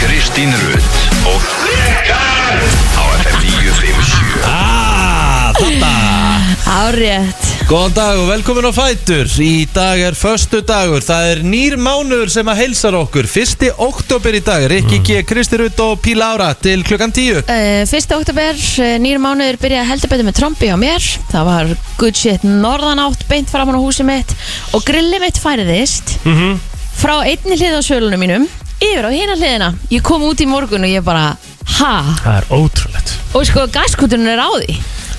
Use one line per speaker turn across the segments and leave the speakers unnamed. Kristín Rutt og Rikar á FM 957
Ah, þetta
Árétt
Góðan dag og velkomin á Fætur Í dag er föstu dagur Það er nýr mánuður sem að heilsar okkur Fyrsti oktober í dag Rikki
Mm.
G, Kristi Rutt og Píl Ára Til klukkan 10
Uh, 1. oktober, uh, nýjum mánuður byrjaði heldur betur með trombi á mér Það var good shit norðanátt beint framan á húsi mitt Og grillið mitt færiðist
Mhm.
Frá einni hlið á svölunum mínum Yfir á hina hliðina Ég kom út í morgun og ég bara Ha?
Það er ótrúlegt
Og sko gaskuturinn er á því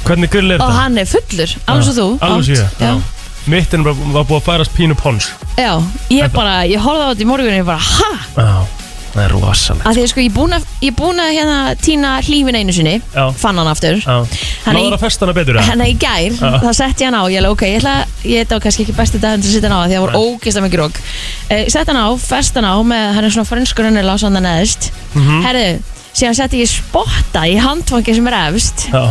Hvernig gull er
Og
það?
hann er fullur, alveg svo þú
Alveg
Átt.
svo ég
Já.
já. Mitt er bara, var búið að færast pínu pons
Já, ég bara, ég horfði á þetta í morgun og ég bara Ha?
Já, það er rosalegt
Af því að sko ég búin að, ég búin að hérna týna hlífin einu sinni
Já.
Fann hann aftur
Já
Hann er í-
Náður að festa hana betur eða?
Þannig að Hérna í gær,
Já.
þá sett ég hann á Ég alveg, ok, ég ætla, ég þetta var kannski ekki besti dagur til að setja hann á Því að það voru ógeðslega mikið rók eh, Sett hann á, fest hann á með, hann er svona frönskur hann er lásan það neðist
Mhm.
Herðu, síðan setti ég spotta í handfangi sem er efst
Já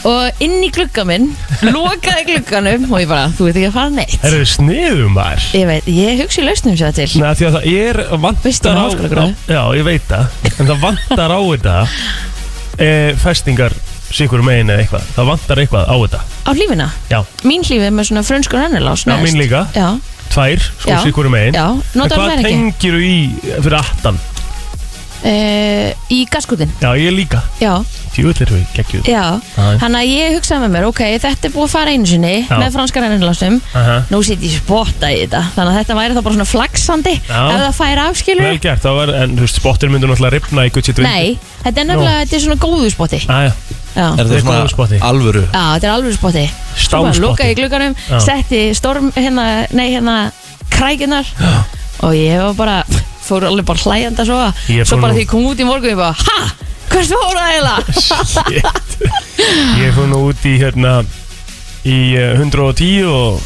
Og inn í glugga minn, lokaði glugganum Og ég bara, þú veit ekki að fara neitt
Er þið sniðum maður?
Ég veit, ég hugsi lausnum sér það til
Nei, af því að það er
Veistu
vantar
með
á
háskólagráðu?
Já, ég veit það En það vantar á þetta e, Festingar sikur megin eða eitthvað Það vantar eitthvað á þetta
Á hlífina,
Já,
mín hlífi með svona frönskur hann er lásan
Já, mín líka.
Já,
tvær, sko
Já.
sikur megin
já,
En
notar hann verið
hvað
ekki
tengiru í fyrir aftan?
Eh, Í gaskutin,
Já, ég líka
já
Tjúvill erum við geggjuð
Já,
Já.
hann að ég hugsaði með mér, ok, þetta er búið að fara einu sinni
Já.
með franska reynilastum,
Aha.
nú sitt ég spotta í þetta, þannig að þetta væri þá bara svona flaksandi ef
Já.
það færi afskilur.
Vel gert, þá var, en þú veist, spottir myndur náttúrulega ripna í Ah, gutsi dvindu
Nei, þetta er nefnilega, þetta er svona góðu spotti.
Æja,
Já.
Er
Þetta er góður spotti.
alvöru?
Já, þetta er alveg spotti. Svo bara
Stálspotti.
lokaði ég glugganum,
Já.
setti storm, hérna, nei, hérna, krækinar og ég var bara, fór alveg bara hlæjandi að sofa.
Ég er
Svo
bara
bara
nú-
því ég kom út í morgun, ég bara, ha, hvert fór það eiginlega?
shit Ég fór nú út í hérna í eh, 110 og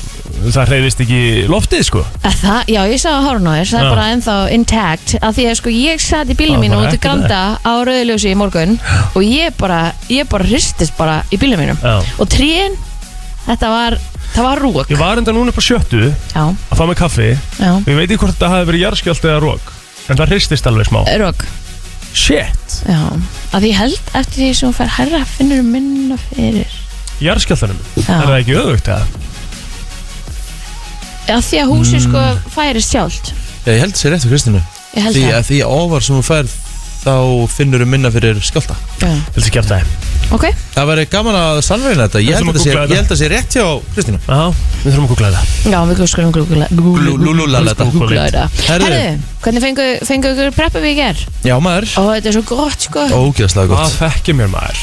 það hreyðist ekki loftið sko
Að Það, já, ég sagði að hárun á þér, það
Já.
er bara ennþá intact af því að sko ég satt í
Það
bílum
var
mínu
bara
út í
ekkert
Granda á Rauðiljósi í morgun og ég bara, ég bara hristist bara í bílum mínum
Já.
og trén, þetta var, það var rúk
Ég var enda núna upp á sjöttu
Já,
að fá mig kaffi
já,
og ég veit ekki hvort það hafi verið jarðskjöld eða rók en það hristist alveg smá
rúk,
Shit,
já af því ég held eftir því sem hún fer herra finnur hún minna fyrir
jarðskjöldanum
Já.
Er það ekki öðvögt eða?
af því að húsið sko
Mm.
færist sjálft
Já, ég held sér réttu Kristínu
ég held
Því að því ofar sem hún færð Þá finnur um minna fyrir skjálta
það já.
Viltu ekki eftir það?
ok,
Það væri gaman að sannveina þetta Ég
Við
held
þurfum
að
að
sé-
googla þetta.
ég held að sé rétt hjá Kristínu
Já, við þurfum að googla þetta
já, við skulum glúkula
Lúlúlala þetta
glúkula
Herðu.
Herðu, hvernig fengu, fengu ykkur preppu við ger?
Já maður
Ó, þetta er svo gott sko
Ógjöðslega
Hvað
gott
fekkir mér maður?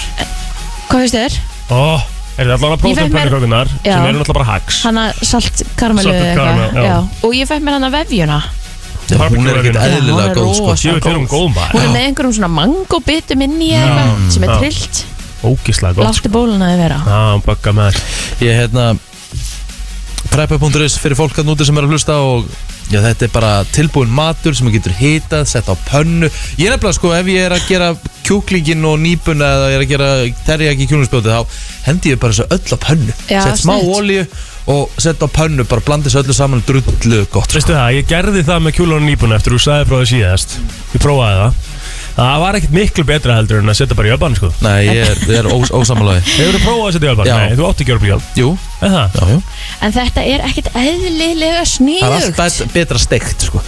Hvað finnst þér?
Ó, er það allavega
Ég fekk mér-
prófumpennukökunar
Já.
sem eru náttúrulega bara hacks
Hanna salt karmelu
Salted karamel, já.
Og ég fekk mér hann að vefjuna
Hún er ekkert
Já, hún er
eðlilega góð sko
rosa
Ég veit um góð
Hún
maður
er með einhverjum svona mangobitum inn í
Já,
eitthvað sem er
já.
trillt
Ógislega góð
Láttu bólan að þið vera
Já, bugga með þér
Ég hérna Preppa.is fyrir fólk að núti sem er að hlusta og já, þetta er bara tilbúin matur sem þú getur hitað, sett á pönnu Ég er nefnilega sko, ef ég er að gera kjúklingin og nýpuna eða ég er að gera terjaki kjúlingsbjóti þá hendi ég bara þessu öll á pönnu
Já,
Sett smá
snillt.
olíu og sett á pönnu bara blandi þessu öllu saman drullu gott sko.
Veistu það, ég gerði það með kjúlan og nýbuna eftir þú sagði frá það síðast Ég prófaði það Það var ekkert miklu betra heldur en að setja bara í öfban sko
Nei, ég er, ég er ós, ósamalagi
Hefur þú prófað að setja í öfban?
Já.
Nei, þú átti ekki að öfban
Jú,
En það?
já, jú
En þetta er ekkert eðlilega
Það er allt
sniðugt
bet- betra steikt sko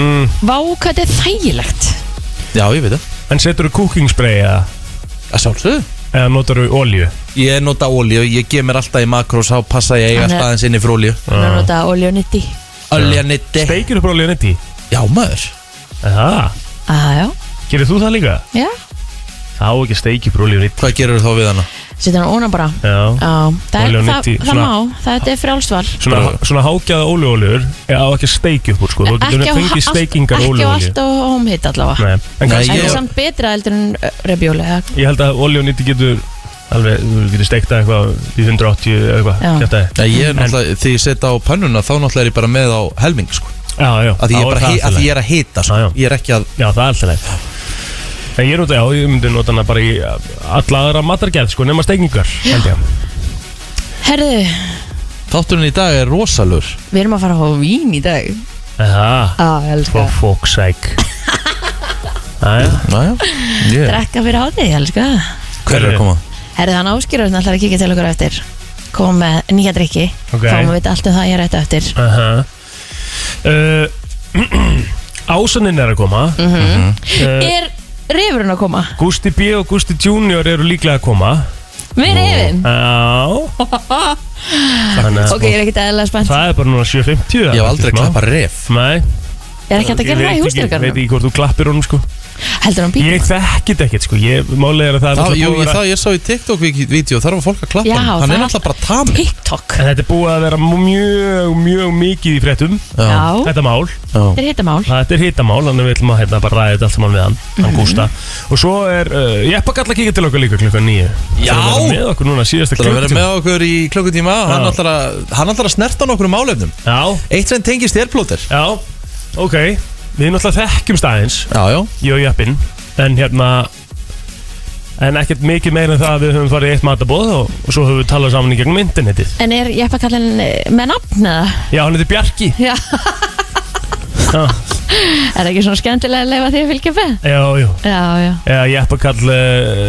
Mm.
Vá, hvað þetta er þægilegt
Já, ég veit það
En setur þú cooking spray eða,
Að sjálfsögðu
eða notar þú olju?
Ég nota olíu, ég gef mér alltaf í makrós þá passa ég að eiga
Hann er-
alltaf aðeins inni fyrir olíu
Þannig að nota oljónitti
Öljanetti
Steikir þú bara olju netti?
Já maður
Það,
Aðjá,
gerir þú það líka?
já
Þá ekki steikir bara olju netti
Hvað gerur þá við hana?
Setja hann óna bara
Já
Já, það, er, það,
Olíónitti,
það
svona-
má, þetta er frjálstval
Svona, svona hágjaða ólíóljur er á ekki að steikja upp úr sko Þú getur
Ekki á
fengið
allt-
steikingar
ekki á
ólíólju
allt og homehit allavega
Nei, en
Nei,
kannski
En það
ég-
er samt betra heldur en eh, rebjóli
Ég held að olíónýtti getur alveg, þú getur steiktað eitthvað í 180 eða
Já.
eitthvað kjaftaði.
Nei, ég er náttúrulega, því ég setja á pönnuna þá náttúrulega er ég bara með á helming sko.
Já, já,
að því
þá
ég, er bara
það
hi- að
allt
því
í
ég er að hita sko.
Já, já.
ég er ekki að
lagi. Já, það er alltaf leið En ég nota, já, ég myndi nota hana bara í uh, alla aðra matargerð, sko, nema steikingar, held ég
Herðu,
þátturinn í dag er rosalur
við erum að fara á vín í dag Já,
Það,
ah,
for fuck's sake Aja.
Næja, ég
Drekka fyrir hátíð, elska
Hver er að koma?
Herðu hann áskýrur, hann ætlar að kíkja til okkur á eftir Koma með nýja drikki
Ok.
Fáum við allt um það hér eftir eftir
Aha. Uh, Ásaninn er að koma uh,
Mhm. Er rifurinn að koma?
Gusti B og Gusti Junior eru líklega að koma
Við rifin?
Já Þannig að
Ok, ég er ekkert eðlilega spennt
það er bara núna 7.50
Ég hef aldrei klappað ref
Nei
Er ekki hægt að gera það í
Ég veit ekki- Veit
húsdyrkarnum?
ekki hvort þú klappir honum sko
Heldur hann býtur?
Ég þekki þetta ekkert sko Ég málega er að það er
Já,
náttúrulega
jú,
búið að
ég,
vera-
það, ég sá í TikTok-vídeó, þar var fólk að klappa
Já,
honum. Hann
það-
er náttúrulega bara tamið
TikTok
En þetta er búið að vera mjög, mjög mikið í fréttum
Já,
Þetta mál
þetta er hittamál
Þetta er hittamál Þannig við ætlum að hérna bara ræða þetta allt saman við hann
Mhm.
Hann Gústa Og svo er uh, Jeppa gall að kíka til okkar líka klukkan nýju
Já.
Það er með okkur núna síðasta
Það er að vera
klukkutíma
með okkur í klukkutíma Hann
Já.
ætlar að- hann ætlar að snerta nokkur um álefnum
Já,
Eitt sem tengist er plóter
já, ok Við náttúrulega þekkjum staðins
Já, já
Ég og Jeppin En hérna En ekkert mikið meira en það að við höfum farið í eitt matabóð og, og svo höfum við talað saman í gegnum internetið
En er Jeppa kallinn eh, með nafn eða?
Já, hann heitir Bjarki
Já,
Já,
er það ekki svona skemmtilega að leifa því að fylgja með?
já, já
Já, já
Eða Jeppakall eh,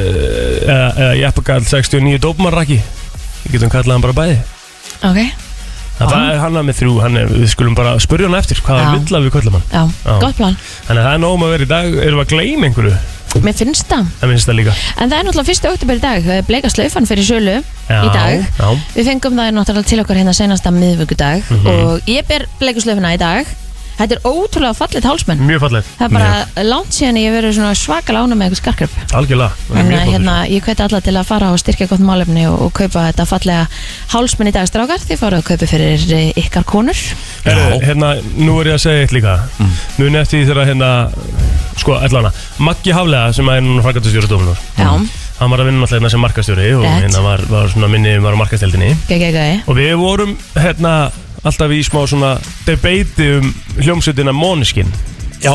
Eða eða Jeppakall 69 dópmarraki Við getum kallað hann bara bæði
Ok,
Það
Já.
er hann að með þrjú, hann er, við skulum bara spurja hann eftir hvað
Já.
hann vill að við köllum hann
já,
Já.
gott plan
Þannig að það er nóg um að vera í dag, erum við að gleyma einhverju
Mér finnst það
Það minnst það líka
En það er náttúrulega fyrsti oktober í dag eh, Bleika slaufan fyrir sölu í dag
Já,
Við fengum það náttúrulega til okkar hérna senasta miðvikudag
Mhm.
Og ég ber bleika slaufana í dag Þetta er ótrúlega fallit hálsmenn
mjög fallið
Það er bara langt síðan ég hef verið svona svakal ána með eitthvað skarkröp
Algjörlega, það er
En
mjög
að,
flottur.
hérna, ég hveti alla til að fara og styrkja gott málefni og, og kaupa þetta fallega hálsmenn í dag strákar Þið farið að kaupa fyrir eh, ykkar konur
Herru, hérna, nú er ég að segja eitt líka Muni eftir því þegar hérna Sko, allana, Maggi Haflega sem er núna frækatustjóri dóminur
Já,
Hann var að vinna alltaf hérna sem markastjóri og
Rétt.
hérna var, var svona minni var á markasteldinni
gæg, gæg, gæg
og við vorum hérna alltaf í smá svona debati um hljómsutina Måneskin
Já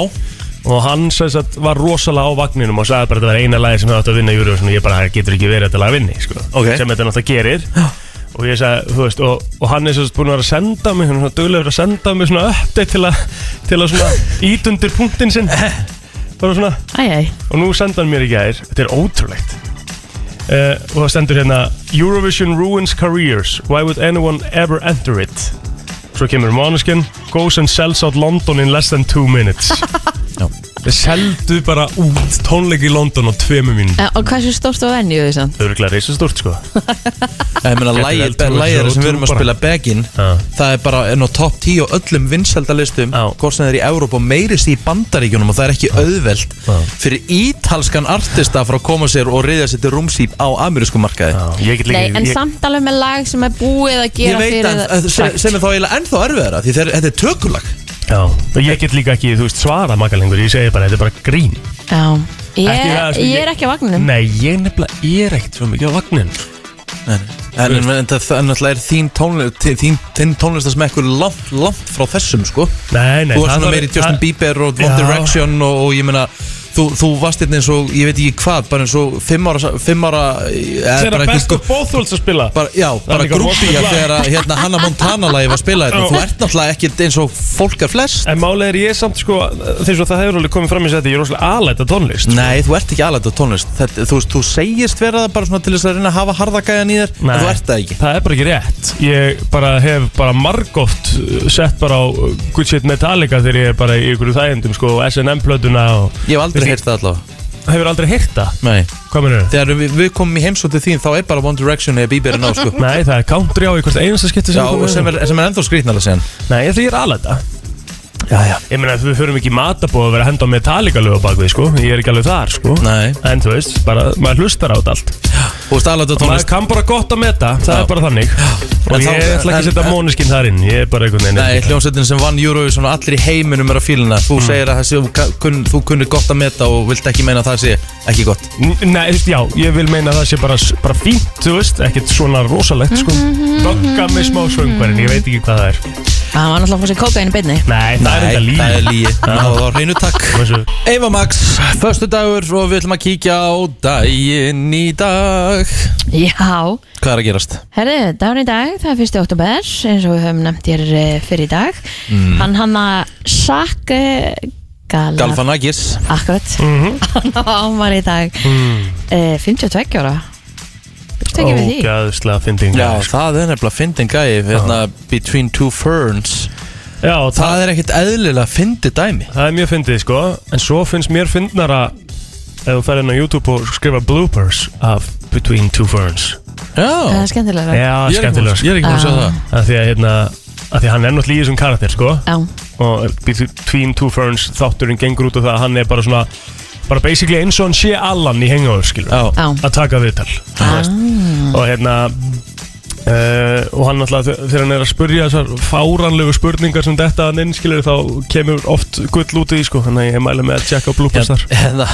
og hann sem sagt var rosalega á vagninum og sagði bara að þetta var eina lagi sem hefði átt að vinna Júriðsson og ég bara "Það getur ekki verið að þetta lag vinni sko.
Ok.
sem þetta náttúrulega gerir og ég sagði, þú veist, og, og hann er sem sagt búin að vera að senda mig, hann er svona duglegur að senda mig svona update til að, til að svona ítundir punktin sinn bara svona,
Æj, æj,
og nú senda hann mér í gær þetta er ótrúlegt uh, og það stendur hérna Eurovision ruins careers, why would anyone ever enter it svo kemur Måneskin, goes and sells out London in less than two minutes
Já.
Þeir seldu bara út tónleik í London á tveimu mínútur
Eh, og hversu stórt var venju því samt?
Það eru glæðið reysa stórt sko
Ég meina,
Þetta er
lægið
eldhús
lægið
og
sem við erum að
túbara.
spila begin
Já.
Það er bara enn á topp 10 og öllum vinsældalistum
Já.
Hvort sem það er í Evróp og meirist í bandaríkjunum Og það er ekki auðvelt Fyrir ítalskan artista frá að koma sér og reyða sér til rúmsýp á amerísku markaði
Ég get
Nei,
líka
en
ég-
samt alveg með lag sem er búið að
Ég
gera
veit
fyrir
að,
Eh,
að sem, sem er þá eiginlega ennþá erfiðara Því þeir, þetta er tökulag
Já, og ég get líka ekki, þú veist, svara makalengur Ég segi bara, þetta er bara grín
Já, ég,
Ekki það, sko,
ég
ég-
er ekki á vagninum
Nei, ég nefnilega, ég er ekkert svo mikið á vagnin
En, en, en, en það en náttúrulega er þín, tónlist, þín, þín tónlistasmekkur langt, langt frá þessum sko
Nei, nei
Þú varst
það
svona
var-
meiri Justin
það-
Bieber og One
Já.
Direction og, og ég meina þú, þú varst hérna eins og, ég veit ekki hvað bara eins og fimm ára, fimm ára eh,
Þegar
bara
best
einhver-
of both worlds að spila
bara, Já, bara
líka
grúpi
rosalegt lag.
þegar að, hérna Hanna Montana lagi var að spila þetta
Já.
Þú ert náttúrulega ekki eins og fólk er flest
En málega er ég samt, sko, þess að það hefur alveg komið fram í seti Ég er rosalega alæta tónlist
Nei, þú ert ekki alveg á tónlist þetta, þú, veist, þú segist vera það bara svona til þess að reyna að hafa harðagæðan í þér en þú ert það ekki
Það er bara ekki rétt Ég bara hef bara margótt uh, sett bara á uh, Good Shit Metallica þegar ég er bara í ykkur þægindum sko, og S&M plötuna og
Ég hef aldrei
Þessi-
heyrt það allavega
hefur aldrei heyrt það
Nei
Hvað mennur
Þegar við, við komum í heimsótið þín þá er bara One Direction eða Bieber en á sko
Nei, það er country á í hvert einasta skipti
Já,
sem
og sem
er...
er, sem er ennþá skrýtnala síðan
Nei, því ég er alæta
Já, já
Ég meina, við förum ekki í matabóð að vera að henda á Metallica lög á bakvið, sko Ég er ekki alveg þar, sko
Nei.
En þú veist, bara, maður hlustar á þetta allt
Þú veist alveg að
Maður
tónlist
kann bara gott að meta, það
Já.
er bara þannig Og
En
ég
þá-
ætla ekki að
en-
setja móniskinn þar inn Ég er bara einhvern veginn
Nei, hljómsveitin sem vann Eurovision og allir í heiminum er að fílina Þú
Mm.
segir að þessi, þú ka- kunn, þú kunnir gott að meta og vilt ekki meina að það sé ekki gott
N- Nei, þú veist, já, ég vil meina að það sé bara, bara fínt, þú veist, ekkert svona rosalegt, sko Bögga með smá svöngverðin, ég veit ekki hvað það er
Það var náttúrulega fór sér kókaðinu beinni
Nei, það er þetta líf
það er lígi Það var hreinu takk
Þessu,
Eva Max, förstu dagur og við ætlum að kíkja á daginn í dag
Já,
Hvað er að gerast?
herri, dagurinn í dag, það er 1. oktober
Mm.
eins og við höfum nefnt hér eh, fyrir í dag Hann hanna Sack Galvan
Galvanagis
Akkurat
Mhm.
Hann á ámar í dag
Mm.
eh, 52 ára Þú tekið við því
Ógæðslega fynding
Já,
maður, sko.
það er nefnilega fyndin gæi hérna, Between Two Ferns
Já það,
Það er ekkert eðlilega fyndi dæmi
það er mjög fyndið sko En svo finnst mér fyndnara Ef þú ferð inn á YouTube og skrifa bloopers Af Between Two Ferns
Það
Já,
er skemmtilega
Já,
ég er ekki búin
skemmtilega
að- ég
sko
er ekki búin að sjá
Ah.
það
Af Því að hérna Af því að hann er náttúrulega í þessum karakter sko
Já,
og Between Two Ferns þátturinn gengur út á það að hann er bara svona bara basically eins og hann sé Allan í hengáður skilur
Já,
já
að taka viðtal
Ah.
og hérna uh, og hann alltaf þegar hann er að spurja þessar fáranlegu spurningar sem þetta hann innskilur þá kemur oft gull út í því, sko þannig að ég mæla með að tjekka bloopers þar
hérna,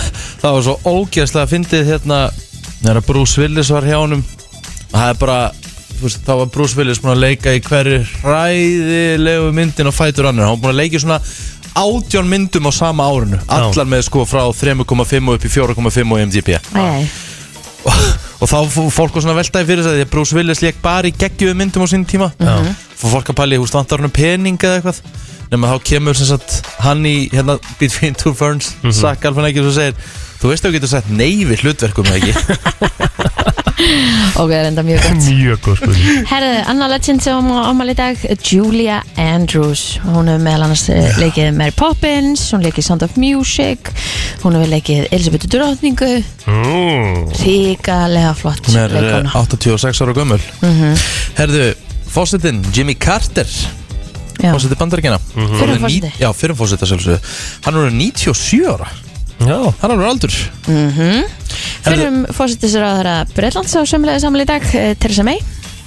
það var svo ógeðslega fyndið hérna þegar Bruce Willis var hjá honum og það er bara þú veist, þá var Bruce Willis búin að leika í hverju hræðilegu myndin og fætur annar hann var búin að leika í svona átján myndum á sama árinu allar með sko frá 3,5 og upp í 4,5 og MDB
Æ, æ.
og þá fór fólk var svona veltaði fyrir þess að því að Bruce Willis leik bara í geggjöðu myndum á sín tíma Mhm.
Já.
fór fólk að pæli, húst vantar hann pening eða eitthvað nema þá kemur sem sagt hann í hérna Between Two Ferns
Mhm.
mm -hmm. Sack Alfanegis og segir þú veist að þú getur sagt nei við hlutverkum eða ekki
Ok, það er enda mjög gott
mjög góð spurning
Herðu, annar legend sem á ámali í dag Julia Andrews Hún hefur meðal annars eh, leikið Mary Poppins Hún leikið Sound of Music Hún hefur leikið Elisabethu Drottningu
mm.
Ríkalega flott Mhm.
hún er
leikona.
eh, 86 ára gömul
eh,
herðu, fósitinn Jimmy Carter
Já. Mhm.
fósiti bandaríkina Hann er
Fyrrum
ní-
forseti.
já, fyrir fósiti sjálfsögðu hann er orðinn 97 ára
já,
hann er alveg aldur
Mhm. Fyrum fósittisráðara Breitlands á sömulega samlega í dag, eh, Theresa May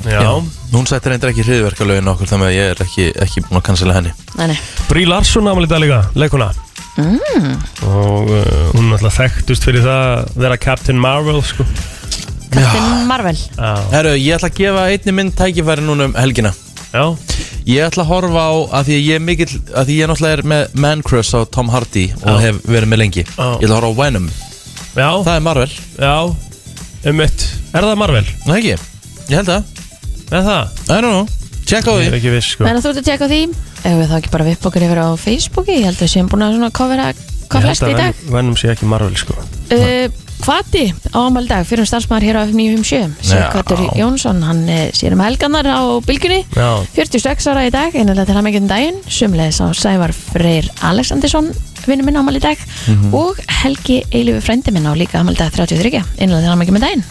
já,
hún sætti reyndar ekki hriðverkarlögin okkur þannig að ég er ekki, ekki búin að cancela henni
Nei, nei,
Brí Larsson ámæli þetta líka, leikuna mm. og uh, hún alltaf þekktust fyrir það að vera Captain Marvel sko
Captain Marvel
já,
herru, ég ætla að gefa einni mynd tækifæri núna um helgina
já,
Ég ætla að horfa á að því að ég er mikill að því ég náttúrulega er með Man Crush á Tom Hardy og
Já.
hef verið með lengi Ég ætla að horfa á Venom
já,
Það er Marvel,
já um er það Marvel?
það ekki? Ég held að,
Er það?
I don't know, check á
Ég er
því
ekki viss sko
Þannig að þú ert að tjekka á því Ef við þá ekki bara vipp okkur yfir á Facebooki Ég held að séum búin að svona kofera hvað flest í dag
Vennum sé ekki Marvel sko
uh, Kvati á ámæli í dag Fyrum starfsmæður hér á F957
Já.
Sjökvatur Jónsson, hann eh, sér um helganar á bylgjunni
Já,
46 ára í dag, einlega til hann ekki um daginn Sumleðis á Sævar Freyr Alexandersson Vinnu minn ámæli í dag
Mhm.
Og Helgi Eilifu frændi minn á líka ámæli í dag 33 Einlega til hann ekki um daginn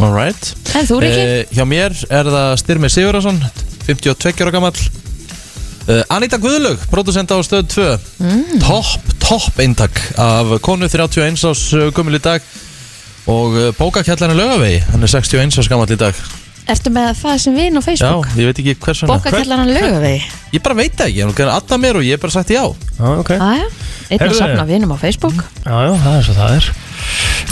Alright
En þú Riki?
Eh, Hjá mér er það Styrmi Sigurðarsson 52 ára gamall uh, Anita Guðlaug, producent á stöð 2
Mm.
Topp, topp eintak af konu 31 ás eh, gömul í dag og uh, bókakjallarinn Laugavegi, hann er 61 ás gamall í dag
Ertu með það sem vin á
Já,
Facebook?
ég veit ekki hvers vegna
Bókakellar hann lögu við
Ég bara veit það ekki, hann kannar alltaf mér og ég hef bara sagt já
já, ok Já,
Aðja, einn að
Heyrðu.
safna vinum á Facebook
já, það er svo það er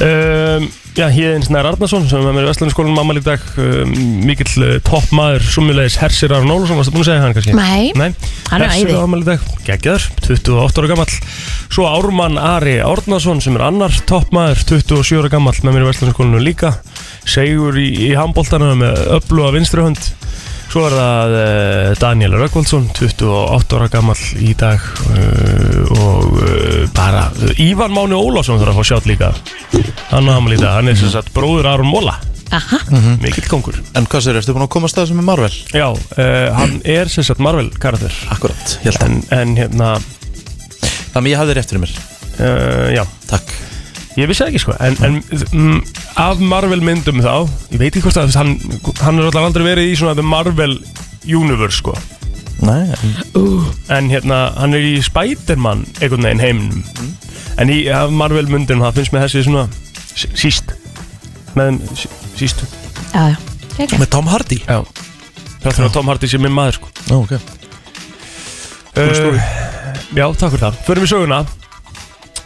um, Já, Híðins Nær Arnason sem er með mér í Vestlandskólanum mammal í dag um, mikill uh, toppmaður sumulegis Hersir Aron Ólfsson, varstu búin að segja hann kannski?
Nei,
Nei,
Hann er æði.
ámæli dag, geggjaður, 28 ára gamall Svo Ármann Ari Árnason sem er annar toppmaður, 27 ára gamall með mér í Vestlandskólinu líka Segur í, í handbóltana með öfluga vinstrihönd Svo er það uh, Daniel Rökkvaldsson, 28 ára gamall í dag uh, og uh, bara uh, Ívan Máni Ólásson þarf að fá sjátt líka hann á ámæli í dag, hann er sem sagt bróður Aron Móla,
aha,
mikill kongur
En hvað sér, ertu búin að komast að þessu með Marvel?
Mhm. Já, uh, hann er sem sagt Marvel karakter
Akkurat, ég held að
en, en hérna
Þannig ég hafði rétt fyrir mér,
Uh, já,
takk
ég vissi það ekki sko En, en mm, af Marvel myndum þá Ég veit ekki hvort að þú veist, hann, hann er alltaf aldrei verið í svona The Marvel Universe sko
Nei, en-
En hérna, hann er í Spider-Man einhvern veginn heiminum En í af Marvel myndum það finnst mér þessi svona sí- Síst Með þeim sí- síst
já, já Kekja.
með Tom Hardy
Já Það þarf að Tom Hardy sé minn maður sko
Ó, ok
Uh, já, takk fyrir það Förum í söguna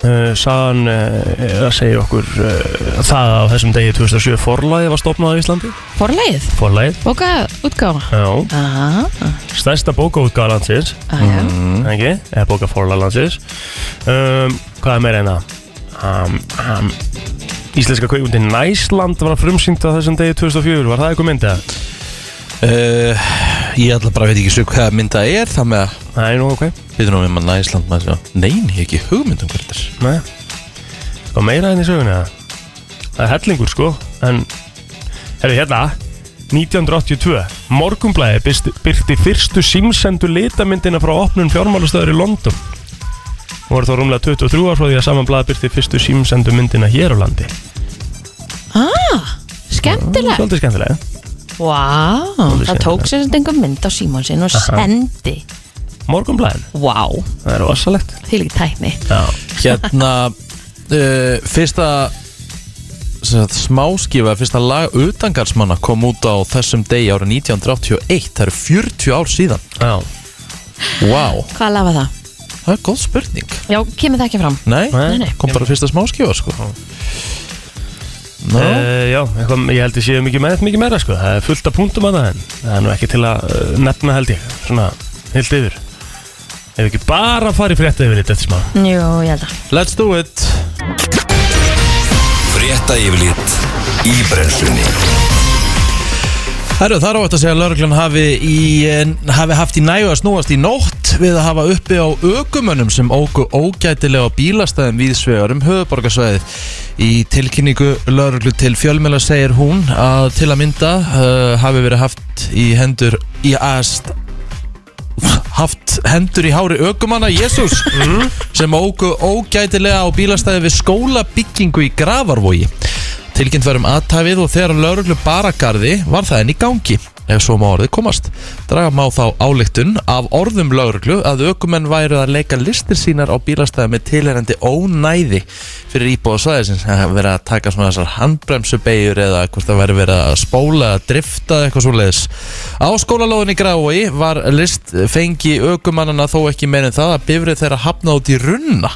uh, Sagan uh, er að segja okkur uh, það að á þessum degi 2007 forlæði var stopnað á Íslandi
Forlegið,
Forlæði,
bóka útgáfa
já,
Aha,
stærsta bókaútgáða landsins
aðja
mm. ekki, eða bóka forlæði landsins um, Hvað er meira en það? Um, um, íslenska kveikmyndin Næsland var frumsýnd á þessum degi 2004 Var það eitthvað myndið?
uh, Ég ætla bara veit ekki svo hvað mynda er Það með að
Nei, nú, ok
Við erum við manna Ísland maður sjá Nein, ég hef ekki hugmynd um hvert þetta er
Nei Sko meira enn í sögunni eða? Það er hellingur sko En Herru hérna 1982 Morgunblæði birti, birti fyrstu símsendu litamyndina frá opnun fjármálastöður í London Hún var þá rúmlega 23 ár frá því að saman blæði birti fyrstu símsendu myndina hér á landi
Ah, skemmtilegt
Svolítið skemmtilega
Vá, það
skemmtilegt.
tók sér þetta einhver mynd á símón sinn og sendi
Morgunblæðin
Vá,
Það er rosalegt
því líka tækni
Já
Hérna uh, Fyrsta sem sagt, smáskifa Fyrsta lag utangarsmanna kom út á þessum degi árið 1981 Það eru 40 ár síðan
Já
Vá, wow,
Hvað lafa það?
það er góð spurning
Já, kemur það ekki fram
Nei,
Nei,
nei.
kom bara fyrsta smáskifa sko Nó,
Uh, já, eitthvað, ég held að séu mikið, með, mikið meira sko. Það er fullt af punktum að það en það er nú ekki til að uh, nefna held ég Svona, heilt yfir Ef ekki bara farið frétta yfir þetta eftir smá
Jú, ég held að
let's do it
Frétta yfirlit í brennslunni
Herru, þar ávægt að segja að lauruglan hafi, í, en, hafi haft í nægu að snúast í nótt við að hafa uppi á aukumönnum sem óku ógætilega á bílastæðum viðsvegar um höfuborgarsvæðið. Í tilkynningu lauruglu til fjölmjöla segir hún að til að mynda uh, hafi verið haft í hendur í aðst haft hendur í hári aukumanna Jésús sem óku ógætilega á bílastæði við skólabyggingu í Gravarvogi. Tilkynnt var um aðtæfið og þegar lauruglu baragarði var það enn í gangi ef svo má orðið komast. Draga má þá ályktun af orðum lauruglu að aukumenn væru að leika listir sínar á bílastæði með tilherandi ónæði fyrir íbúða svæðisins að vera að taka svona þessar handbremsubegjur eða hvort það væri verið að spóla eða drifta eða eitthvað svo leiðis. Á skólalóðinni Grávói var list fengi aukumannana þó ekki meirinn það að bifrið þeirra hafna út í runna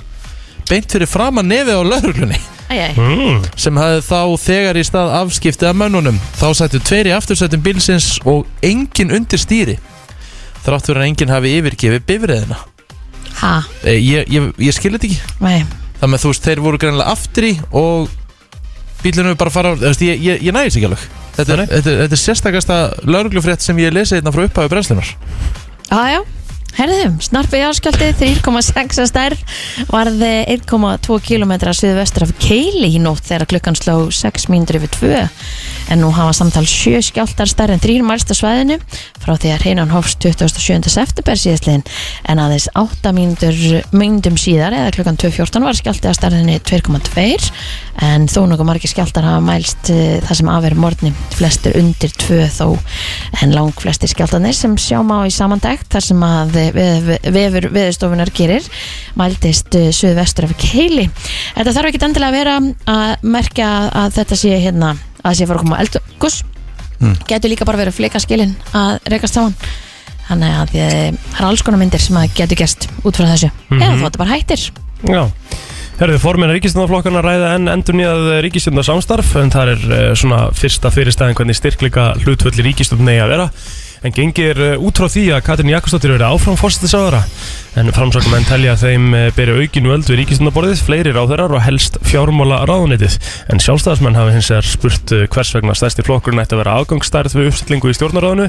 beint fyrir framan nefið á lauruglunni
Æjæj
mm.
sem hafði þá þegar í stað afskipti af mönnunum. Þá sættu tveir í aftursættum bílsins og engin undir stýri þrátt fyrir að enginn hafi yfirgefið bifriðina.
Ha,
Eh, Ég, ég, ég skil þetta ekki.
nei
Það með þú veist, þeir voru greinlega aftur í og bílunum er bara að fara, þú veist, ég, ég, ég nægis ekki alveg. Þetta er, þetta, er- þetta er sérstakasta lauruglufrétt sem ég lesi hérna frá upphæfi brennslunar.
Jájá, herðum, snarpi áskjöldi 3,6 að stær varð 1,2 km suðvestur af Keili í nótt þegar klukkan sló 6 mínútur yfir 2 en nú hafa samtal 7 skjáltar stær en 3 mælst á svæðinu frá því að hreinan hófst 27. september síðastliðin en aðeins 8 mínútur myndum síðar eða klukkan 2.14 var skjálti að stærðinni 2,2 en þó nokkuð margir skjáltar hafa mælst eh, það sem afverð morgni flestir undir 2 þó en lang flestir skjáltanir sem sjá má í samandægt þar sem að vef, vefur veðurstofunar gerir mæltist suðvestur af keili Þetta þarf ekki endilega að vera að merkja að þetta sé hérna að sé fara að koma eldgus getur líka bara verið fleikaskilin að rekast saman þannig að eh, það er alls konar myndir sem að getur gerst út frá þessu eða þú þetta bara hættir
Já Herðu, formin ríkistjórnarflokkana ræða enn endur nýjað ríkistjórnarsamstarf en það er uh, svona fyrsta fyrirstæðin hvernig styrkleika hlutfölli ríkistjórn eigi að vera en gengir uh, út frá því að Katrin Jakobsdóttir verið áfram fórstisáðara en framsökum enn telja að þeim uh, beri aukinu öld við ríkistjórnarborðið, fleiri ráðherrar og helst fjármála ráðunitið en sjálfstæðismenn hafi hins vegar spurt uh, hvers vegna stærsti flokkurinn ætti að vera afgangsstærð við uppstillingu í stjórnarráðinu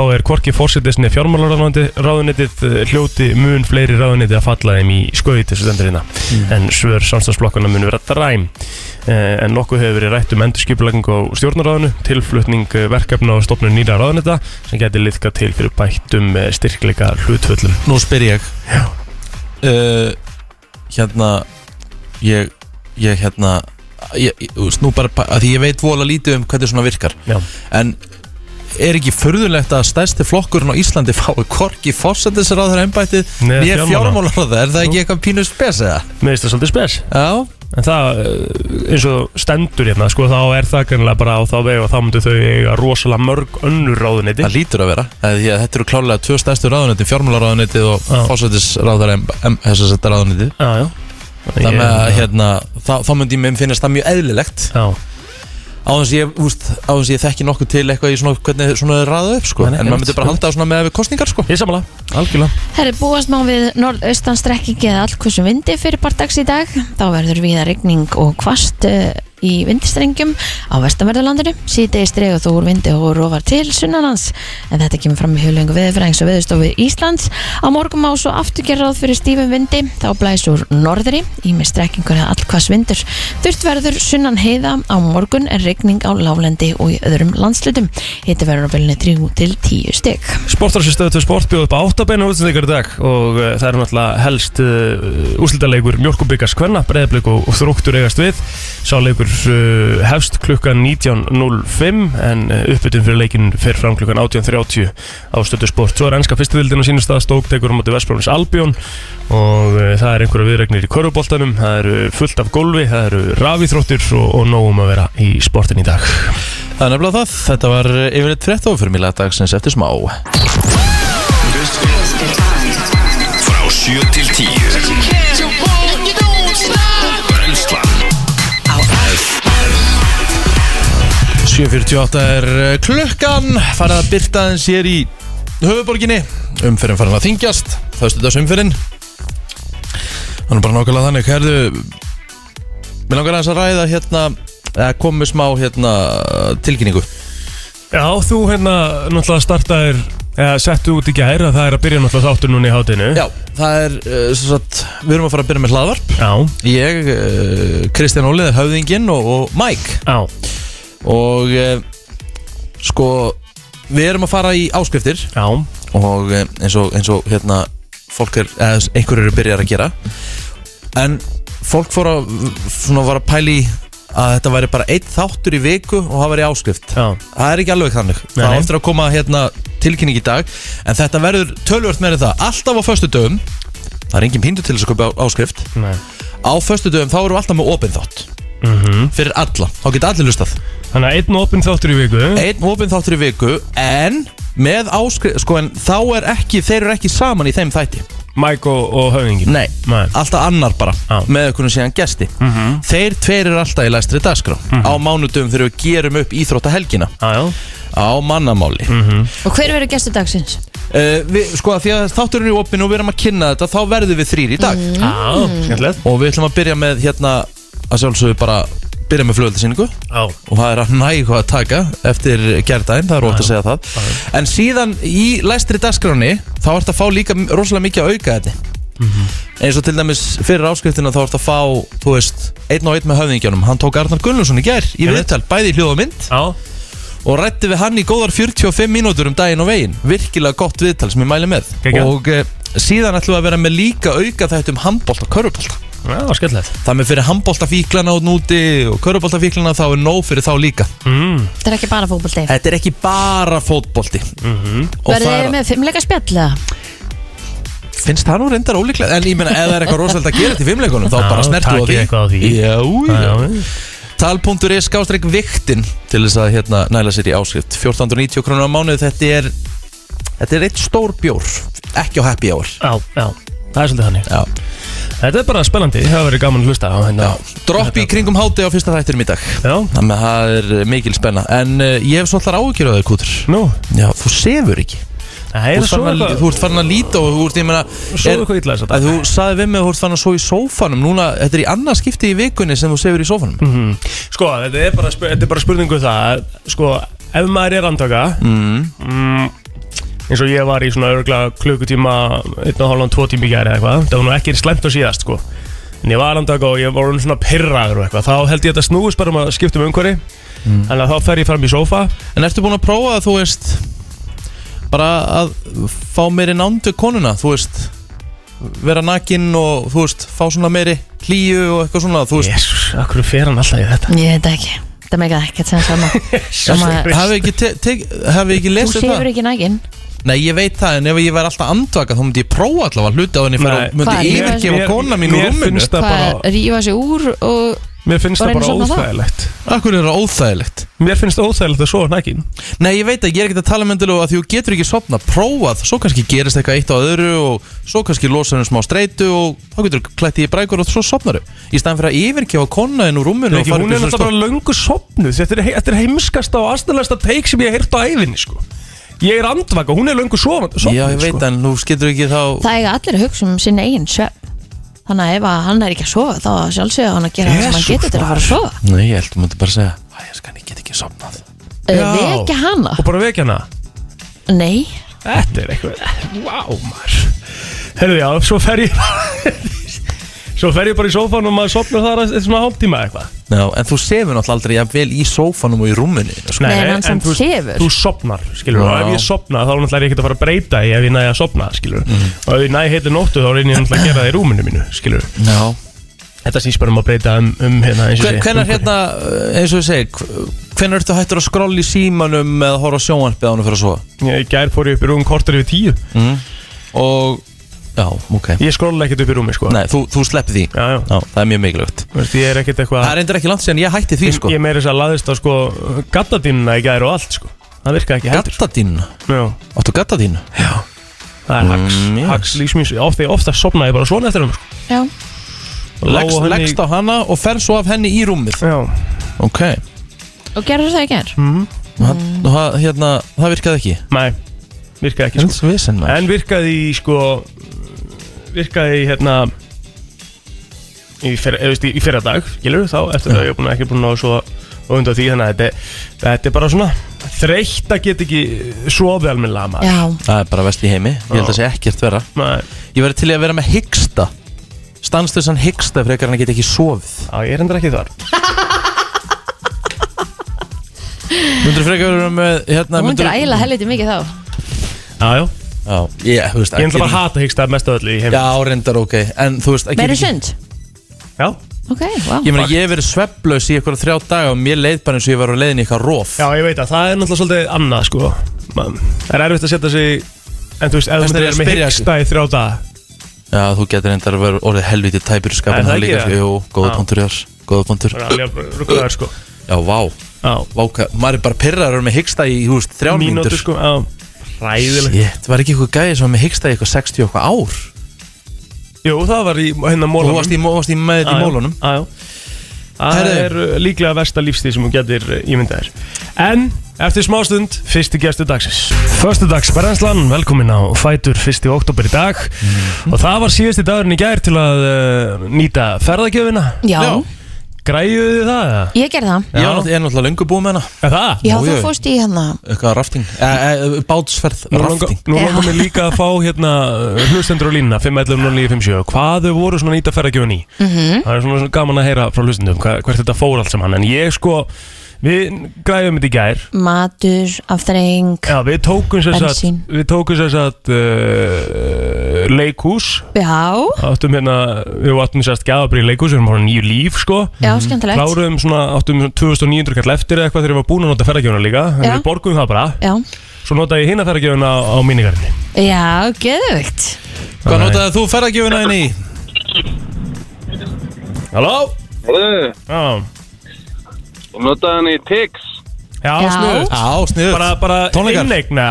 þá er hvorki fórsetisni fjármálaráðunitið eh, hljóti mun fleiri ráðunitið að falla þeim í skauði þessu stendurina mm. en svör samstagsflokkana mun vera dræm Eh, en nokkuð hefur verið rætt um endurskipulagingu á stjórnaráðinu, tilflutning eh, verkefna og stofnun nýra ráðunita sem geti liðka til fyrir bættum eh, styrkleika hlutvöllum
Nú spyr ég uh, Hérna Ég, ég hérna ég, ég, þú veist, Nú bara, pa- að því ég veit vola lítið um hvernig svona virkar
Já.
En er ekki förðulegt að stærsti flokkurinn á Íslandi fái korki fórsættisráður embættið
Nei,
Né
fjármála.
fjármálaráður, er það ekki eitthvað pínu spes eða?
Mér finnst það svolítið spes
Já,
En það, eh, eins og stendur hérna, sko, þá er það kannilega bara á þá veg og þá myndu þau eiga rosalega mörg önnur ráðuniti
það lítur að vera að því að þetta eru klálega tvö stærstu ráðunetið fjármálaráðunetið og
Já.
fórsættisráður ráðunetið
Já, já
Þannig að hérna, þá, þá myndi mér finnast það mjög eðlilegt
Já,
á þess að ég, úst, á þess að ég þekki nokkuð til eitthvað í svona, hvernig svona er raðað upp sko.
Nei, nei,
en maður
einmitt,
myndi bara
sko.
halda á svona með kostningar sko.
ég samala, algjörlega
Herri, búast má við norðaustan strekkingi eða allkvössum vindi fyrir bardags í dag. Þá verður viða rigning og kvast eh, í í vindstrengjum á vestanverðurlandinu síðdegis dregur þó úr vindi og rofar til sunnanlands en þetta kemur fram í hulungu veðurfræðings og veðurstofu Íslands á morgum á svo aftur gerðað fyrir stífum vindi þá blæs úr norðri í með strekkingur eða allkvass vindur þurft verður sunnan heiða á morgun en regning á láglendi og í öðrum landslutum hitti verður á bylunni 3 til 10 stygg
Sportarsistöðu til sport bjóð upp á áttabeina útsendingar í dag og uh, það eru náttúrulega helst uh, úslitaleikur Mjölkubikars Kvenna, Breiðablík og, og Þróttur eigast við. Sáleikur uh, hefst klukkan 19.05 en uh, uppbytun fyrir leikinn fer fram klukkan 18.30 á stöðu sport. Svo er ennska fyrstuvildin á sínum stað stók tekur á móti Vestbrónis Albjón og uh, það er einhverja viðregnir í köruboltanum, það eru fullt af gólfi, það eru rafíþróttir og, og nógum að vera í sportin í dag.
Það er nefnilega það, þetta var yfirleitt frétt ofur mjög dagsins eftir smá
Frá 7 til 10 Brennslan
7.48 er eh, klukkan, farið að byrta aðeins hér í höfuborginni Umferðin farin að þingjast, þaustu dags umferðin Þannig bara nákvæmlega þannig, herðu Mér langar aðeins að ræða hérna, eða komið smá hérna tilkynningu
Já, þú hérna náttúrulega startaðir eða settu út í gær að það er að byrja náttúrulega þáttur núna í hátinu
Já, það er, eh, sem sagt, við erum að fara að byrja með hlaðvarp
Já,
Ég, eh, Kristján Ólið er höfðinginn og, og Mike
já,
Og eh, sko, við erum að fara í áskriftir
já,
og eh, eins og, eins og hérna, fólk er, eða einhverjur eru byrjar að gera en fólk fór að svona var að pæli að þetta væri bara einn þáttur í viku og það væri áskrift
já,
það er ekki alveg þannig
Nei.
það er eftir að koma hérna, tilkynning í dag en þetta verður tölvört meira en það alltaf á föstu dögum það er engin píndu til þess að köpa áskrift
nei
á föstu dögum þá erum við alltaf með opin þátt
mm
fyrir alla, þá geta allir lustað
Þannig að einn opinn þáttur í viku
einn opin þáttur í viku en með áskrift, sko en þá er ekki þeir eru ekki saman í þeim þætti
Mike og, og höfingin
Nei,
Nei. Mhm.
alltaf annar bara
Já.
með okkur síðan gesti Þeir tveir eru alltaf í læstri dagskrá á mánudum þegar við gerum upp íþróttahelgina
Já, Mhm. já, Mhm.
á mannamáli mm
Og hver verður gestur dagsins?
við, Sko að því að þátturinn er í opinu og við erum að kynna þetta þá verðum við þrýr í dag
já, skemmtilegt
og við ætlum að byrja með hérna að sjálfsögðu bara byrja með flugöldasýningu
Já,
og það er að nægu að taka eftir gerðdæn, það er rótt að segja það en síðan í læstri dagskráni þá ertu að fá líka m- rosalega mikið að auka þetta Mhm. eins og til dæmis fyrir áskriftina þá ertu að fá, þú veist einn og einn með höfðingjónum, hann tók Arnar Gunnlússon í gær í
Einmitt.
viðtal, bæði í hljóð og mynd
já,
og rætti við hann í góðar 45 mínútur um daginn og veginn, virkilega gott viðtal sem ég mæli með
Geggjað.
og e, síðan ætlum við að vera með líka auka þetta um handbólt og körubólt
já, skemmtilegt
það með fyrir handbóltafíklana út núti og körubóltafíklana þá er nóg fyrir þá líka
mm.
Þetta er ekki bara fótbolti
Þetta er ekki bara fótbolti
Mhm.
Og
Verður
það
þið
er,
með fimmleika spjall?
finnst það nú reyndar ólíklega En ég meina, ef það er eitthvað rosalega að gera til fimmleikunum Þá
Já,
bara snertu á
takið
því,
eitthvað á því.
Já,
Já,
já.
já,
Tal.is skástrík viktin Til þess að hérna, næla sér í áskrift 1490 krónur á mánuð Þetta er, þetta er eitt stór bjór Ekki á happy hour
já, já Það er svolítið þannig
Já,
Þetta er bara spennandi, það hefur verið gaman að hlusta á hérna
já. Dropp í kringum háti á fyrsta þættinum í dag
Já,
Þannig að það er eh, mikil spenna En uh, ég hef svolítið áhyggjur á þau kútur
nú
Já, þú sefur ekki
Það
Þú
er
ert
svo
farin að, þú
eitthvað
ert farin að líta og þú ert, ég meina
Svo
er-
eitthvað illa þess að
að þú saði við mig að þú ert fann að svo í sófanum núna, þetta er í annað skipti í vikunni sem þú sefur í sófanum mm.
Sko, þetta er bara, spu- þetta er bara spurningu það að, Sko, ef maður er andaka mm. Eins og ég var í svona örgla klukkutíma Einn og hálfan, tvo tíma í gæri eitthvað Það var nú ekki slemt og síðast, sko En ég var andaka og ég var orðinn svona pirraður og eitthvað Þá held ég að þetta snúist bara um að skipta um umhverfi Þannig að þá fer ég fram í sófa
Mm. en ertu búin að prófa að þú veist bara að fá meiri nándu konuna, þú veist vera nakinn og þú veist fá svona meiri hlýju og eitthvað svona þú veist,
Jésús, akkur fer hann alltaf í þetta
Ég veit ekki Það meika ekkert sem sama Sama-
yes, hafi ekki, te, te, hafi ekki
Þú
lesið
sefur
það?
ekki nægin
Nei, ég veit það, en ef ég væri alltaf andvaka þá myndi ég prófa allavega hluti á henni
Nei.
fyrir að
Hvað,
myndi
lífið-
yfirgefa kona mín úr
mér
rúminu
finnst það
Hvað,
bara,
rífa sig úr og
mér finnst
og
það
reyna
bara
að sofna þá?
óþægilegt
Akkur er það óþægilegt
Mér finnst óþægilegt að sofa nægin
Nei, ég veit að ég er ekkert að tala myndilega að því þú getur ekki sopna prófað, svo kannski gerist eitthvað eitt á öðru og svo kannski losar um smá streitu og þá getur þú klætt í brækur og svo sopnar í staðan fyrir að yfirgefa konaðin úr rúminu og
Ekki,
fara
hún
upp
er
í svona
náttúrulega
stof.
bara löngu sopnuð Þetta er, þetta er heimskasta og astalegasta teik sem ég hef heyrt á æfinni sko. Ég er andvaka, hún er löngu sofnuð
Já, ég veit
sko.
en nú skilur ekki þá
það eiga allir að hugsa um sinna eigin svefn Þannig að ef að hann er ekki að sofa þá að sjálfsögja hann að gera það sem hann
Jesús,
getur til að fara að sofa
Nei, ég held, þú mútti bara segja Æ, ég skan, ég get ekki sopnað
Já.
Við ekki Eh, hana?
Og bara vekja hana
Nei
Þetta er eitthvað Vá maður Herðu já, svo fer ég Svo fer ég bara í sófan og maður sopnar þar eftir svona hálftíma eða eitthvað
Já, en þú sefur náttúrulega aldrei jafnvel í sófanum og í rúminu sko.
Nei, en hann samt
þú,
sefur.
þú sopnar, skilur og
Já.
ef ég sopna þá er náttúrulega er ég ekkert að fara að breyta í ef ég næði að sopna, skilur og ef ég næði heitir nóttu þá reynir ég náttúrulega að gera það í rúminu mínu, skilur
Já
Þetta snýst bara um að breyta um, um hérna eins og
Hve-
sé,
Hvenær
umhverfi.
hérna, uh, eins og ég segi Hvenær ertu hættur að skrolla í símanum eða horfa á sjónvarpið ánum fyrir að sofa
Ég- Í gær fór ég upp í rúm kortur yfir tíu
Og, já, ok
Ég skrolla ekkert upp í rúmi, sko
Nei, þú, þú sleppir því
Já, já.
Já, það er mjög mikilvægt
Þú veist, Ég er ekkert eitthvað
Það er endur ekki langt síðan ég hætti því, sko
Ég meira þess að laðist á sko gattadínuna í gær og allt sko Það virka ekki heldur
Gattadín
Já,
Áttu gattadín?
það er hax
Mm, já.
Hax lífsmýs Oft þegar ofta sopnaði ég bara svona eftir hann sko.
Já
Og lá
Leggst
á henni-
leggst á hana og fer svo af henni í rúmið
Já,
Ok
Og gerður það ekki er?
Mhm. Það, það- hérna, það virkaði ekki
nei, virkaði ekki sko.
Helds vesen maður
En virkaði í sko Virkaði í hérna Í fyrra, eða, veist, í- í fyrra dag Gilur þá eftir það ég er búin að ekki búin að svo Og undan því þannig að þetta, er- þetta er bara svona Þreytt að geta ekki Sofið almennilega maður
Já
Það er bara vest í heimi Ég held að
Já.
sé ekkert vera
Nei,
Ég verði til í að vera með hyggsta Stanslösan hyggsta frekar en að geta ekki sofið
á, ég er endur ekki þar
Mundur frekar vera með hérna,
Þú myndir
myndirðu-
ægilega helviti mikið þá
Já, já,
Já, ég, þú veist
ég
að
enda bara að
geta-
hata hyggstað mest af öllu í heim
Já, reyndar, ok En þú veist að geta
Verður
ekki-
sund?
já,
Ok, vá
Ég meina, ég hef verið svefnlaus í eitthvað þrjá daga og mér leið bara eins og ég var á leiðin í eitthvað róf
Já, ég veit að það er náttúrulega svolítið annað sko Man, Það er erfitt að setja sig En þú veist, ef
Þess
þú
vegna er ég
er
að
með
spyrja
hyggsta í þrjá daga
Já, þú getur reyndar að vera orðið helviti tæpur í
Er
skapinu
það
það
ekki
líka,
það?
Jú, góða
Já.
punktur Jás, góða punktur
Það er alveg rúkkaðar sko
Já, vá,
á,
vá, hvað- maður er bara pyrrar og er með hyggsta í, þú veist, þrjár
Mínútur
mínútur
sko á, Ræðilegt
Shit, var ekki eitthvað gæði sem var með hyggsta í eitthvað 60 og eitthvað ár
Jú, það var í hérna
Og
mólunum
þú varst í, varst í með þetta í mólunum
á, Það
Herðu.
er uh, líklega versta lífstíð sem þú getur uh, ímyndaðir En eftir smástund, fyrsti gestur dagsins Förstu dags Brennslan, velkomin á Fætur fyrsti oktober í dag
Mhm.
Og það var síðasti dagurinn í gær til að uh, nýta ferðagjöfina
Já,
Græjuðu þið það? eða?
ég gerði það
Ég var náttúrulega- ég er náttúrulega löngu búið með hana
Er það?
Já,
Ó,
þú
jú.
fórst í hérna
Eitthvað rafting, e, e, bátsferð,
Nú langar
rafting
nú
Já.
langar mig líka að fá hérna hlustendur á línuna 511-0957 hvað þau voru svona nýta ferðagjöfun í
mhm, Mm.
það er svona, svona gaman að heyra frá hlustendum hva- hvert þetta fór allt saman en ég sko við græðum þetta í gær
Matur, aftreng
Já, við tókum sér satt
Bensín.
við tókum sér satt uh, leikhús
Já,
áttum hérna við áttum sér satt gafabri í leikhús við erum hérna nýju líf sko
já, skemmtilegt
kláruðum svona áttum svona 2900 kall eftir eða eitthvað þegar ég var búin að nota ferðagjöfuna líka en
Já.
við borgum það bara
Já,
svo notaði ég hina ferðagjöfuna á, á mínigarni
já, geðvögt
Hvað notaði þú ferðagjöfuna inn í?
Halló?
Hörðu,
Já,
ég notaði hann í Tix
já,
Já.
snuð
Á, sniðut
Bara, bara
Tónleikar?
innegna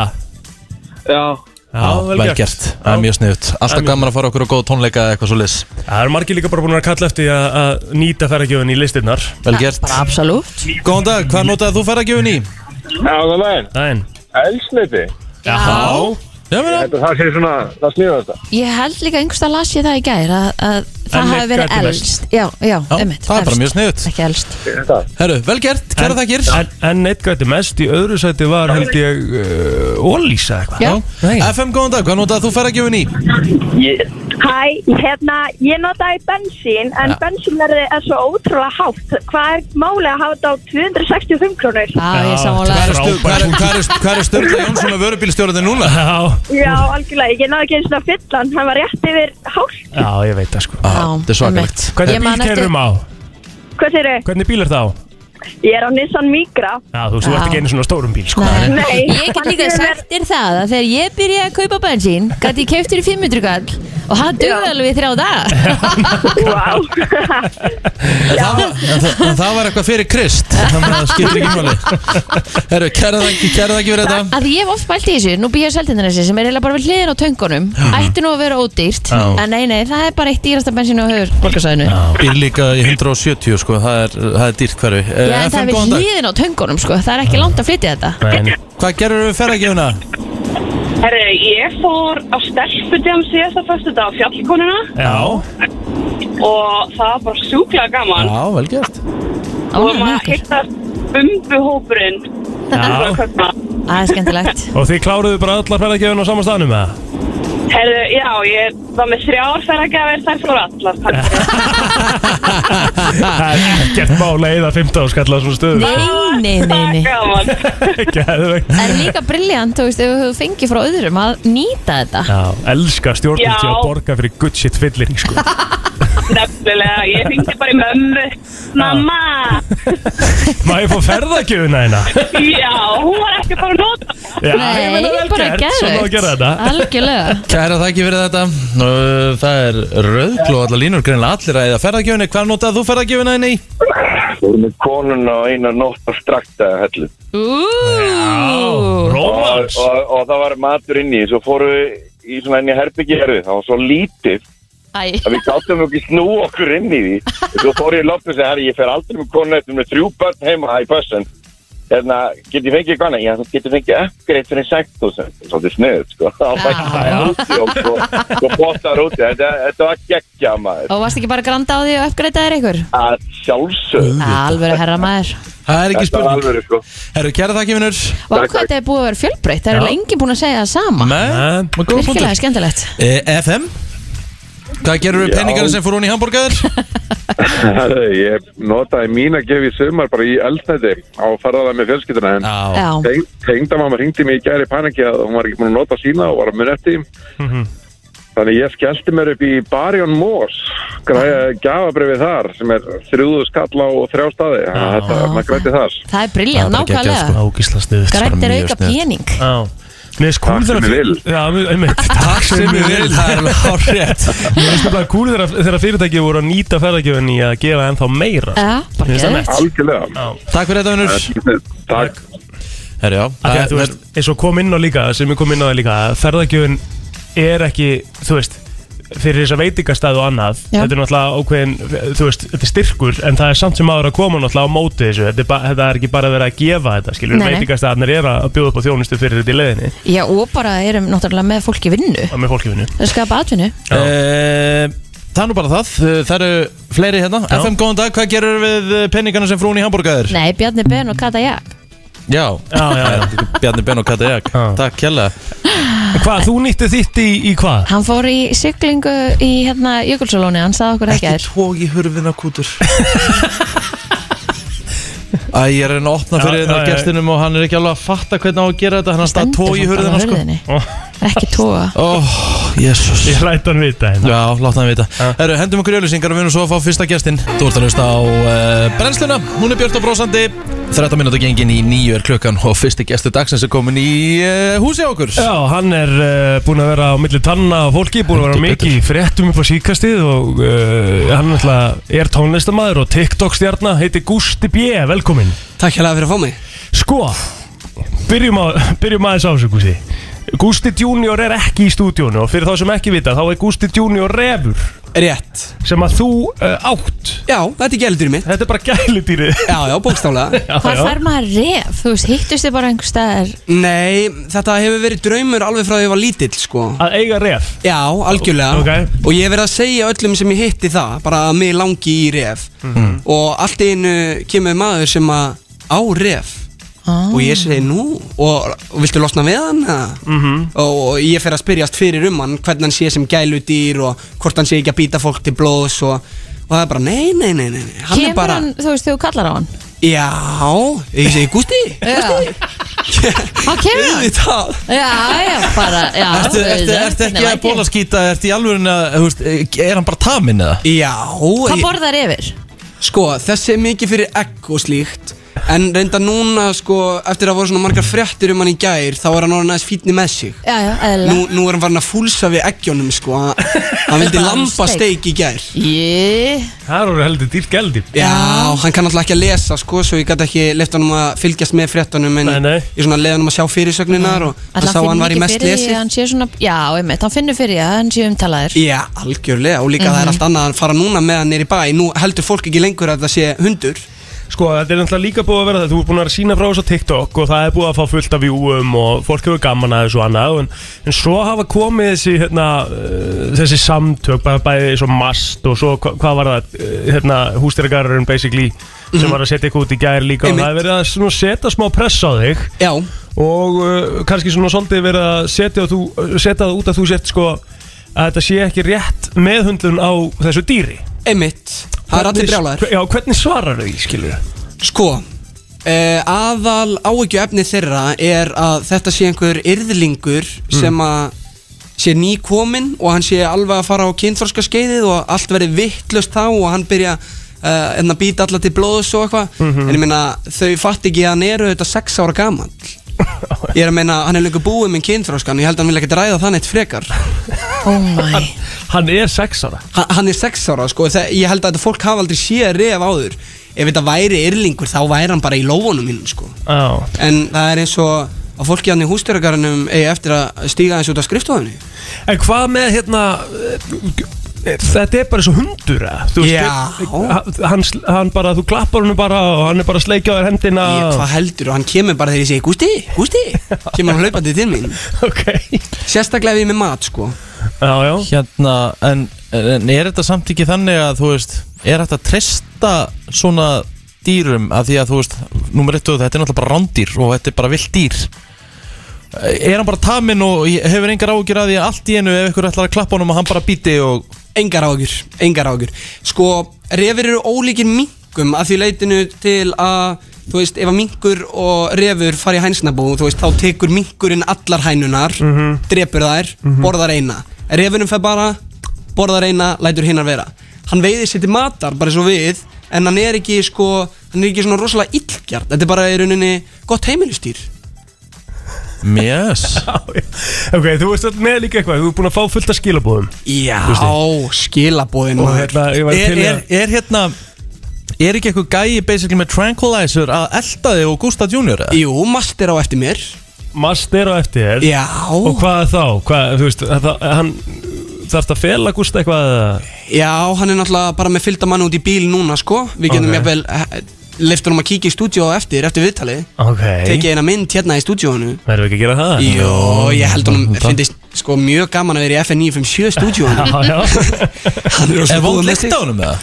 Já,
Já, vel gert, það er mjög sniðut Alltaf gaman að fara okkur á góð tónleika eða eitthvað svo
Það eru margir líka bara búin að kalla eftir því að, að nýta ferðargjöfun í listirnar
Vel gert
Bara absolutt
Góðan dag, hvað notaði þú ferðagjöfun í?
já það væn,
Dæin
elsniti
Já
Já, meina
Þetta það sé svona, það snýður þetta
Ég held líka einhverstað las ég það í gær að, að það
En
hafi verið
leggja til
elst Já, já,
Já,
einmitt,
það er bara
efst.
mjög sniðut
Ekki elst
Herru, vel gert, kæra þakkir
En, en eitt gæti mest í öðru sæti var held ég uh, Ólísa eitthvað
Já,
Nei.
FM, góðan dag, hvað notaði þú ferðagjöfun í?
Hæ, hérna, ég notaði bensín en
Ja.
ja. bensínverði er svo ótrúlega hátt. Hvað er málið að hafa þetta á 265 krónur?
já, ég
Já,
samanlega
tvær- Frábær
Hvað er Sturla Jónsson að vörubílstjórið núna?
Já,
Já, algjörlega, ég náði ekki eins og að fylla hann, hann var rétt yfir hálf.
já, ég veit það sko
Já, þetta er svakalegt
Hvernig bíl kerum á?
Hvað þeir eru?
Hvernig bíl er það á?
Ég er á Nissan Migra.
Já, þú veist, þú
Já.
ert ekki einu svona stórum bíl sko
Nei.
Nei.
Ég get líka sagt þér það að þegar ég byrjaði að kaupa bensín gæti ég keift fyrir 500 kall og hann dugði alveg í þrjá dag
Vá.
En það var- en það- en það var eitthvað fyrir Krist Þannig að það skiptir ekki máli Herru, kæra þakkir, kæra þakkir fyrir þetta
að því ég hef oft bælt í þessu, nú býja seltindarnesi sem er eiginlega bara við hliðin á töngunum ætti nú að vera ódýrt,
Já.
en nei nei það er bara eitt dýrasta bensín á höfur borgarsæðinu já,
Býr líka í 170 sko, það er, það er dýrt hverfi Eh,
en það
FM,
er
góðan
við
dag,
hliðin á töngunum sko, það er ekki langt að flytja þetta
Nei.
hvað gerur við ferðagjöfuna?
Eh,
Herri, ég fór á stelpudjám síðasta fyrstu dag á fjallkonuna
Já,
og það var bara sjúklega gaman
Já, vel gert
og
Ánægður með
maður
okkur.
hittast bumbuhópurinn
Já.
Það er skemmtilegt.
Og þið kláruðu bara allar ferðargefin á sama staðnum eða?
Herðu, já, ég var með þrjár ferðargjafir, þær fóru allar takk.
Það er ekkert mála eða 15 skall á svona stöðu
Nei, nei, nei, nei.
Gaman
Geðveikt.
Það er líka brilljant, þú veist, ef þú fengir frá öðrum að nýta þetta.
Já, elska
Já.
stjórnvöldi að borga fyrir good shit fyllir sko.
Nefnilega, ég hringdi bara í mömmu Mamma,
Má ég fá ferðargefina hérna?
já, hún var ekki bara að nota
Já,
Nei,
ég meina vel
bara
gert, svona á að
geðveikt.
gera þetta
Algjörlega.
Kæra þakki fyrir þetta Nú, Það er rauðkló allar línur greinlega allir að eða ferðagjöfinni Hvað notaðu þú ferðagjöfinna inn í?
Við erum með konuna og eina nótt að strakta hellu.
Ú,
Og,
Rómans
og, og það var matur inni, svo fórum við í svona inn í herbyggjarðu. Það var svo lítið
æ,
að við gáttum ekki snú okkur inn í því. Og Svo fór ég í loftu og segi, herri, ég fer aldrei með konu eftir með þrjú börn heima í pössun. Hérna, get ég fengið eitthvað annað? Já, þú getur fengið uppgreitt fyrir 6000. Svolítið sniðut, sko. Það var
Já.
bara úti og svo, svo bóttar úti. Þetta, þetta var geggja, maður.
og varst ekki bara að granda á því og uppgreita þér ykkur?
Að sjálfsög.
Alveg herra maður.
Það er ekki
Þetta var
spurning
alveg, sko.
Herru, kæra þakki vinnur
Vá,
Takk,
hvað
takk.
þetta er búið að vera fjölbreytt. Það er
Já.
alveg enginn búin að segja það sama.
Nei,
Nei.
með góða
Virkilega
punktur
skemmtilegt.
e, FM Hvað gerur við
Já.
penningarinn sem fór hún í hambúrgaður?
Herðu, ég notaði mín að gefa í sumar bara í eldnæti á ferðalega með fjölskylduna en
Já,
Já,
teng- tengdamamma hringdi mig í gæri paniki að hún var ekki búin að nota sína og var að mun eftir því. Þannig ég skellti mér upp í Barjón Mós gafabrifið þar sem er þrjúðu skall á þrjá staði Þannig að þetta,
Já,
maður grætti þar
það er brilljant,
Það er bara geggjað, sko.
nákvæmlega.
Ógisla sniðut
Grætt er
mjög
auka
sniðugt.
pening.
Nei, skúl
Takk
þeirra
sem ég vil.
Já, mjög- einmitt Takk
sem við vil, það er alveg hárétt
Mér finnst það kúl þeirra, þeirra fyrirtæki voru að nýta ferðargjöfin í að gera ennþá meira sko.
Já, bara
Mér finnst það
geðveikt.
Algjörlega
Takk fyrir þetta vinnur
Takk
Herru, já Eh,
Af því
það-
að þú veist, eins og kom inn á líka sem ég kom inn á það líka, að ferðargjöfin er ekki, þú veist fyrir þess að veitingastæð og annað
Já.
þetta er náttúrulega ákveðin, þú veist, þetta er styrkur en það er samt sem áður að koma náttúrulega á móti þessu þetta er, ba- þetta er ekki bara að vera að gefa þetta skilur,
Nei, nei.
veitingastæðarnir er að bjóða upp á þjónustu fyrir þetta í leiðinni
Já, og bara erum náttúrulega með fólk í vinnu.
og með fólkifinu
Það skapa atvinnu.
Eh, Það er nú bara það, Eh, það eru fleiri hérna
Já.
FM, góðan dag, hvað gerur við penningarna sem frún í hambúrgaður?
Nei, Bjarni Ben og Kata Jakk.
Já,
Já, já, já.
Eh, Bjarni Ben og Katja Jak
Já.
Takk kjærlega
Hvað, þú nýtti þitt í, í hvað?
Hann fór í siglingu í hérna Jökulsalóni, hann sagði okkur ekki er.
tók í hurfina kútur Æ, ég er að reyna að opna fyrir
Já,
hérna
já, já.
gestinum og hann er ekki alveg að fatta hvernig á að gera þetta hann er alltaf að tóa í hurðina sko
Ó.
Ekki tóa.
Óh,
Oh.
jésus
Ég læt hann vita hérna
Já, láta hann vita Herru, hendum okkur jölusingar og við erum svo að fá fyrsta gestin Þú ert að hlusta á uh, brennsluna Hún er Björn og brósandi 13 minúti gengin í nýju er klukkan og fyrsti gestur dagsins er komin í uh, húsi á okkur
Já, hann er uh, búin að vera á milli tanna og fólki, búin að vera
Heldur
mikið í fréttum upp á síkastið og uh, hann náttúrulega er tónlistamæður og TikTok-stjarna, heitir Gusti B, velkomin.
Takk hérlega fyrir að fá mig
Sko, byrjum, á, byrjum aðeins á þessu Gusti. Gusti Junior er ekki í stúdíónu og fyrir þá sem ekki vita, þá er Gusti Junior refur
Rétt
sem að þú uh, átt.
Já, þetta er gældur mitt
Þetta er bara gæludýrið.
Já, já, bókstálega
Já,
Hvað
já.
fær maður ref? Þú veist, hittust þið bara einhver staðar.
Nei, þetta hefur verið draumur alveg frá því að ég var lítill, sko
Að eiga ref.
Já, algjörlega
Ok.
Og ég hef verið að segja öllum sem ég hitti það Bara að mig langi í ref
Mhm.
Og allt í einu kemur maður sem að á ref
Ah.
Og ég segi nú Og, og viltu losna við hann? Mm -hmm.
Mhm.
og, og ég fer að spyrjast fyrir um hann Hvernig hann sé sem gæludýr Og hvort hann sé ekki að býta fólk til blóðs Og, og það er bara, nei, nei, nei, nei nei. Hann er
Kemur
bara,
hann, þú veist, þegar þú kallar á hann?
já Ég segi, Gústi
Já. Hann Ah, kemur hann?
Auðvitað
Já, já, bara, já.
Ertu, ertu, ertu ekki að bóla skýta, ertu í alvörin að, þú veist, eh, er hann bara tamin eða?
Já
Hvað
ég-
borðar yfir?
Sko, þessi er mikið fyrir egg og slíkt En reynda núna, sko, eftir að voru svona margar fréttir um hann í gær Þá er hann orðin aðeins fítni með sig
Já, já, eðla.
Nú, nú er hann farin að fúlsa við eggjónum, sko Hann- Hann vildi
Bara
lambasteik í gær
Jé,
Það eru heldur dýrt gæludýr.
Já, hann kann alltaf ekki að lesa, sko Svo ég gæti ekki leift hann um að fylgjast með fréttunum En
Nei, nei.
ég svona leiði hann um að sjá fyrirsögninar Og
Ætli
hann sá að hann var í
finni
mest
ekki fyrir því að
lesið
hann sé svona, já, einmitt, hann finnur fyrir því að hann sé umtalaður
Já,
Mhm.
algjörlega, og líka það er allt annað að fara núna með hann niður í bæ Nú heldur fólk ekki lengur að það sé hundur
Sko, þetta er náttúrulega líka búið að vera það Þú er búin að sína frá þessu á TikTok og það er búið að fá fullt af vjúum og fólk hefur gaman að þessu og annað en, en svo hafa komið þessi, hérna, uh, þessi samtök bæ, bæði svo mast og svo hva, hvað var það uh, hérna, hústyrgarurinn basically sem var að setja eitthvað út í gær líka og
Mhm. Einmitt.
það er verið að svona setja smá press á þig
Já,
og uh, kannski svona svolítið verið að setja, þú, setja það út að þú sért sko að þetta sé ekki rétt meðhundlun á þessu dýri
einmitt Það er allir
Hvernig-
brjálæður
Já, hvernig svarar þau, skilur
Sko, eh, aðal áhyggju efni þeirra er að þetta sé einhver yrðlingur
Mm.
sem að sé nýkominn og hann sé alveg að fara á kynþorska skeiðið og allt verið vittlust þá og hann byrja uh, að býta alla til blóðs og eitthvað
Mhm.
en ég meina þau fatt ekki að hann eru þetta 6 ára gamall ég er að meina hann er lengur búið með kynþróskan ég held að hann vil ekkert ræða það neitt frekar
Oh my
Hann er sex ára
Ha- hann er 6 ára sko, þe- ég held að þetta fólk hafa aldrei séð ref áður ef þetta væri yrlingur þá væri hann bara í lófunum mínum sko.
Já,
en það er eins og að fólki hann í hústyrgarnum eigi eftir að stíga eins út af skrifstofunni
en hvað með hérna eh, Þetta er bara eins og hundur eða? Þú
Já.
veist, eh, hann, hann bara, þú klappar hann bara og hann er bara að sleikja á þér hendina
ég, hvað heldur, hann kemur bara þegar ég segi Gústi, Gústi, kemur hann hlaupandi til mín
Ok
sérstaklega ef ég er með mat sko
Já, já
Hérna, en, en er þetta samt ekki þannig að þú veist, er þetta að treysta svona dýrum að því að þú veist, nummer eitt og þetta er náttúrulega bara rándýr og þetta er bara vilt dýr er hann bara taminn og ég- hefur engar ágjur að því að allt í einu ef ykkur ætlar að klappa honum og hann bara býti og
Engar ágjur, engar ágjur Sko, refur eru ólíkir minkum að því leitinu til að þú veist, ef að minkur og refur fara í hænsnabú, þú veist, þá tekur minkurinn allar hænunar,
Mhm.
drepur þær borðar eina, refurinn fer bara borðar eina, lætur hinnar vera hann veiðir sér til matar, bara svo við en hann er ekki sko hann er ekki svona rosalega illgjart, þetta er bara í rauninni gott heimilustýr
yes,
Ok, þú veist að með líka eitthvað Þú er búin að fá fullt af skilabóðum
Já,
Gústi.
skilabóðin
Og
maður.
hérna, ég var
er,
til í
er,
að
er hérna er ekki eitthvað gæi basically með tranquilizer að elda þig og Gustaf Junior eða?
Jú, master á eftir mér
Master á eftir þér
Já
Og hvað þá? Hvað, þú veist, það, hann Þarf það að fela Gústa eitthvað eða?
Já, hann er náttúrulega bara með fylgda mann út í bíl núna sko Við getum
Ok.
jafnvel jafnvel leiftur um að kíkja í stúdíó á eftir, eftir viðtalið
Ok
Tekið eina mynd hérna í stúdíónu
Verðum við ekki að gera það?
Jó, ég held honum, finnist sko mjög gaman að vera í FN957 stúdíónu
Já, já
Hann er
er
rosa góður
vond
með
lykt
sig.
á honum eða?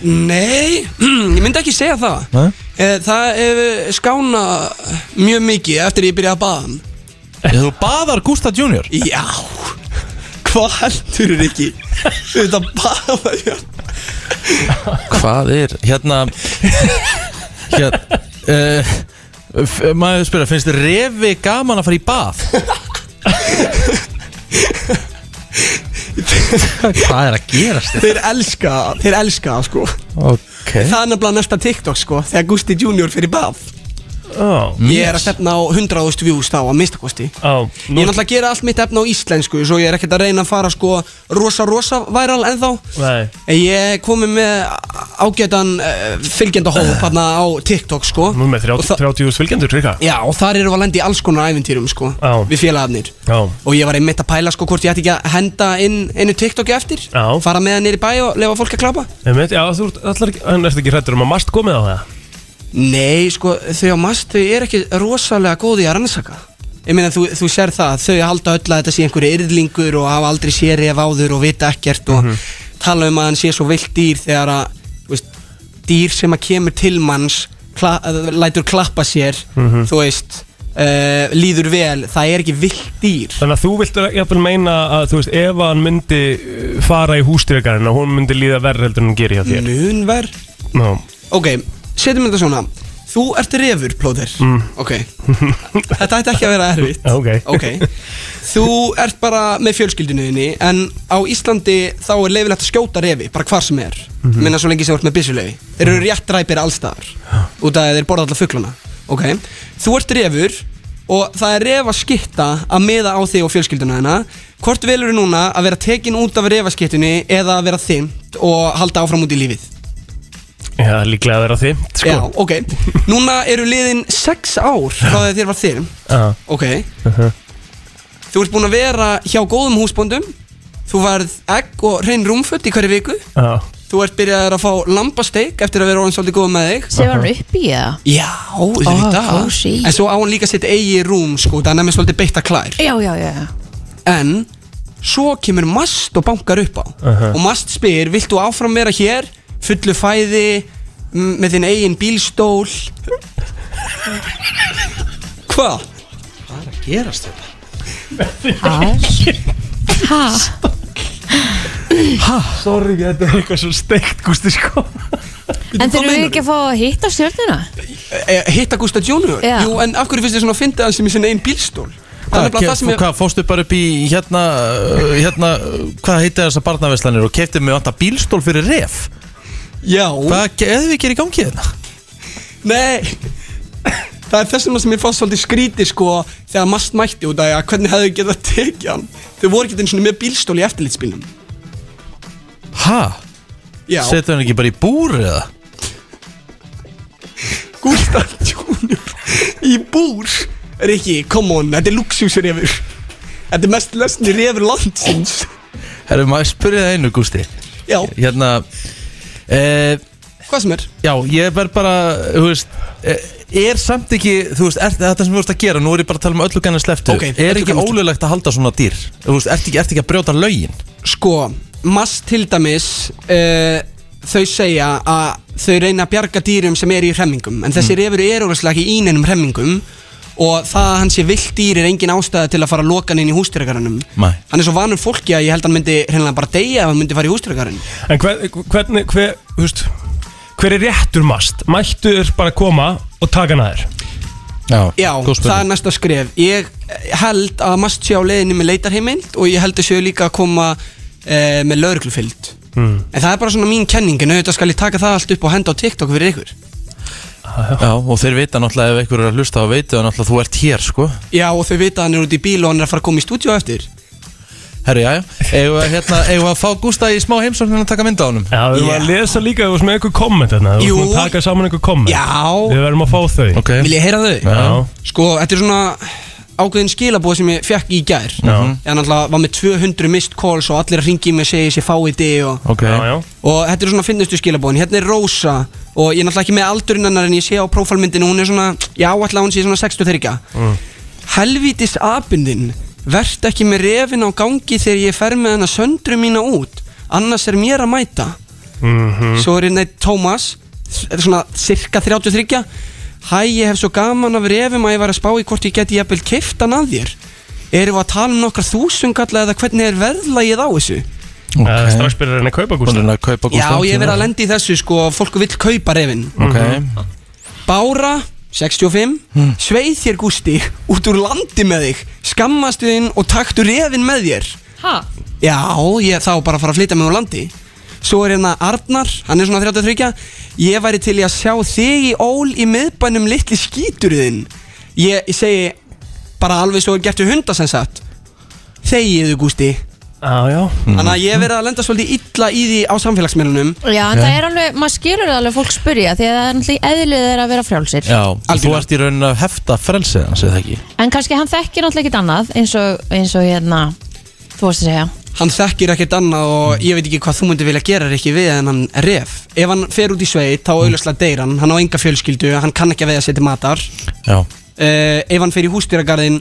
Nei, ég myndi ekki segja það
Nei?
Eh, Það er skána mjög mikið eftir ég byrja að baða hann
þú baðar Gustaf Junior
Já Hvað heldur er ekki? Þetta baða ég
Hvað er? Hérna Hérna uh, Maður spyrja, finnst þið refi gaman að fara í bað? Hvað er að gerast
Þeir elska, þeir elska það, sko
Ok
Það er nefnilega næsta TikTok sko Þegar Gusti Junior fyrir bað
Ó,
Ég er að stefna á 100.000 views þá að mista kosti
á,
Ég
nú,
er náttúrulega að gera allt mitt efna á íslensku Svo ég er ekkert að reyna að fara sko Rosa rosa væral ennþá
Nei.
En Ég er komið með ágætan uh, fylgjendahóp hérna á TikTok sko
Ah. nú er með 30
Og þa-
30.000 fylgjendur, Rika
Já og þar erum við að lenda í alls konar ævintýrum sko
Já.
Við félagarnir
Já.
Og ég var einmitt að pæla sko hvort ég ætti ekki að henda inn einu TikToki eftir
Já.
Fara með hann niður í bæ og lefa fólk að klappa
Einmitt, já, þú ert allar ekki, en ertu ekki hrættur um að mast komið á það?
Nei, sko, þau á mast, þau er ekki rosalega góð í að rannsaka Ég meina, þú, þú sér það, þau halda öll að þetta sé einhverju yrðlingur og hafa aldrei sér ef áður og vita ekkert
Mhm.
og
Mhm.
tala um að hann sé svo vilt dýr þegar að, þú veist, dýr sem að kemur til manns, kla, eh, lætur klappa sér,
Mhm.
þú veist, uh, líður vel, það er ekki vilt dýr
Þannig að þú vilt jafnvel meina að, þú veist, ef hann myndi uh, fara í hústyrkarinn að hún myndi líða verð heldur en hún gerir hjá þér.
Nunver
Ná,
Ok, setjum þetta svona Þú ert refur, plóðir mm. Ok, þetta ætti ekki að vera erfitt
Ok.
Þú ert bara með fjölskyldinuðinni En á Íslandi þá er leifilegt að skjóta refi Bara hvar sem er Minna svo lengi sem þú ert með byssuleifi Þeir eru rétt ræpir allstaðar Út af að þeir borða alla fuglana Ok, þú ert refur Og það er refaskitta að miða á þig og fjölskylduna hennar Hvort velur núna að vera tekin út af refaskittunni Eða að vera þimmt og halda áfram út í lífið
já, líklega að vera þimt, sko.
Já, ok Núna eru liðin sex ár frá þegar þér var þér
Já.
Ok Þú ert búin að vera hjá góðum húsbóndum Þú varð egg og reyn rúmfött í hverju viku
Já.
Þú ert byrjaður að fá lambasteik eftir að vera orðin svolítið góð með þig
Sefur hann upp Oh, í það?
Já, auðvitað
kósí.
En svo á hann líka sitt eigi rúm sko, það er nefnir svolítið beitta klær
Já, já, já
En svo kemur mast og bankar upp á
Aha.
Og mast spyr, vilt þú áfram vera hér, fullu fæði, m- með þinn eigin bílstól Hvað? Hvað er að gerast þetta?
Ha?
Sorry, þetta er eitthvað svo steikt, Gústi, sko
En þeir eru
meinarðu?
ekki að fá að hitta stjörnuna?
E, hitta Gústa Junior?
Já.
Jú, en af hverju finnst þið svona að finna hann sem í sinna einn bílstól? Það er
Hvað,
nefnilega það sem ég...
hvað fórstu bara upp í hérna, uh, hérna uh, hvað heitir þessar barnaverslanir og keftið mig alltaf bílstól fyrir ref
Já,
Hvað eða við gerir í gangi hérna? þetta?
nei Það er þessum sem ég fannst svolítið skrítið sko þegar mast mætti út af því að hvernig hefðu getað tekið hann Þau voru ekki einu sinni með bílstól í eftirlitsbílnum
Ha?
Já,
Setur hann ekki bara í búr eða?
Gústa Junior í búr Rikki, come on, þetta er luxusrefur Þetta er mest lesni refur landsins
Herru, maður spurði það einu, Gústi
Já,
Hérna e,
hvað sem er
Já, ég verð bara, þú veist eh, Er samt ekki, þú veist, er, þetta sem þú veist að gera Nú er ég bara að tala um öllu gæna sleftu
Ok,
Er ekki
öllu
ólulegt að halda svona dýr? Þú veist, ert ekki, ert ekki að brjóta lögin?
Sko, mast til dæmis uh, Þau segja að þau reyna að bjarga dýrum sem eru í hremmingum En þessi
Mm.
refur eru úrslega ekki í neinum hremmingum Og það að hann sé vilt dýr er engin ástæða til að fara að loka hann inn í hústyrkaranum
Nei.
Hann er svo vanur fólki að ég held hann myndi hreinlega bara deyja ef hann myndi fara í hústyrkaran
En hver, hvernig, hver, þú veist Hver er réttur mast? Mættu þér bara að koma og taka hann að þér
Já,
Já, það
góð
er
spurning
næsta skref Ég held að mast sé á leiðinni með leitarheimild Og ég held að séu líka að koma uh, með lauruglufylgd
Hmm.
mm. En það er bara svona mín kenning En auðvitað skal ég taka það allt upp og henda á TikTok fyrir ykkur
Já, og þeir vita náttúrulega ef einhver er að hlusta og veitu að náttúrulega þú ert hér, sko
Já og þau vita að hann er út í bíl og hann er að fara að koma í stúdíu á eftir
Herru, já, já, eigum við hérna, eigum við að fá Gústa í smá heimsóknin að taka mynda á honum
Já, við erum að lesa líka, þú veist með einhver komment þarna Þú
Jú.
veist með að taka saman einhver komment
Já,
Við verðum að fá þau
Ok,
vil ég heyra þau?
Já,
Sko, þetta er svona ákveðin skilabóð sem ég fekk í gær
Já.
Ég hann alltaf var með 200 missed calls og allir að ringi mig og segja sér fáið þig og,
ok
já, já
og þetta er svona finnustu skilabóðin Hérna er Rósa og ég er náttúrulega ekki með aldurinn hennar en ég sé á prófálmyndinu Hún er svona, já alltaf hún sé svona 63 mm. Helvítis abundin Vert ekki með refin á gangi þegar ég fer með hennar söndru mína út Annars er mér að mæta
Mhm.
Mm.
Svo er hérna einn Tómas Þetta er svona cirka 33 Hæ, ég hef svo gaman af refum að ég var að spá í hvort ég geti jafnvel keift hann að þér Erum við að tala um nokkar þúsungalla eða hvernig er veðlagið á þessu?
Það er Eh, strax byrjar henni að kaupa
Hún er
Gústa
að
Já,
kaupa Gústa
ég hef verið að lenda í þessu sko, fólk vill kaupa refin
Ok, Hmm.
Bára, 65 Sveið þér Gústi, út úr landi með þig Skammastu þinn og taktu refin með þér
Ha?
Já, ég þá bara að fara að flytja mig úr landi Svo er hérna Arnar, hann er svona 33 Ég væri til í að sjá þig í ól í miðbænum litli skíturiðinn ég, ég segi bara alveg svo gertu hundasensat Þegiðu Gústi
Já, já
Þannig
Mm.
að ég hef verið að lenda svolítið illa í því á samfélagsmiðlunum
Já, en það er alveg, maður skilur alveg fólk spyrja því að það er náttúrulega eðlið þeirra að vera frjálsir
já, þú
Algjörlega.
ert í raunin að hefta frelsið hans, eða ekki?
En kannski hann þekkir náttúrulega ekkert annað eins og, eins og hérna, þú varst að segja
Hann þekkir ekkert annað og ég veit ekki hvað þú myndir vilja gera ekki við en hann ref Ef hann fer út í sveit þá auðvitað deyr hann Hann á enga fjölskyldu, hann kann ekki að veða sér til matar
Já,
uh, ef hann fer í hústýragarðin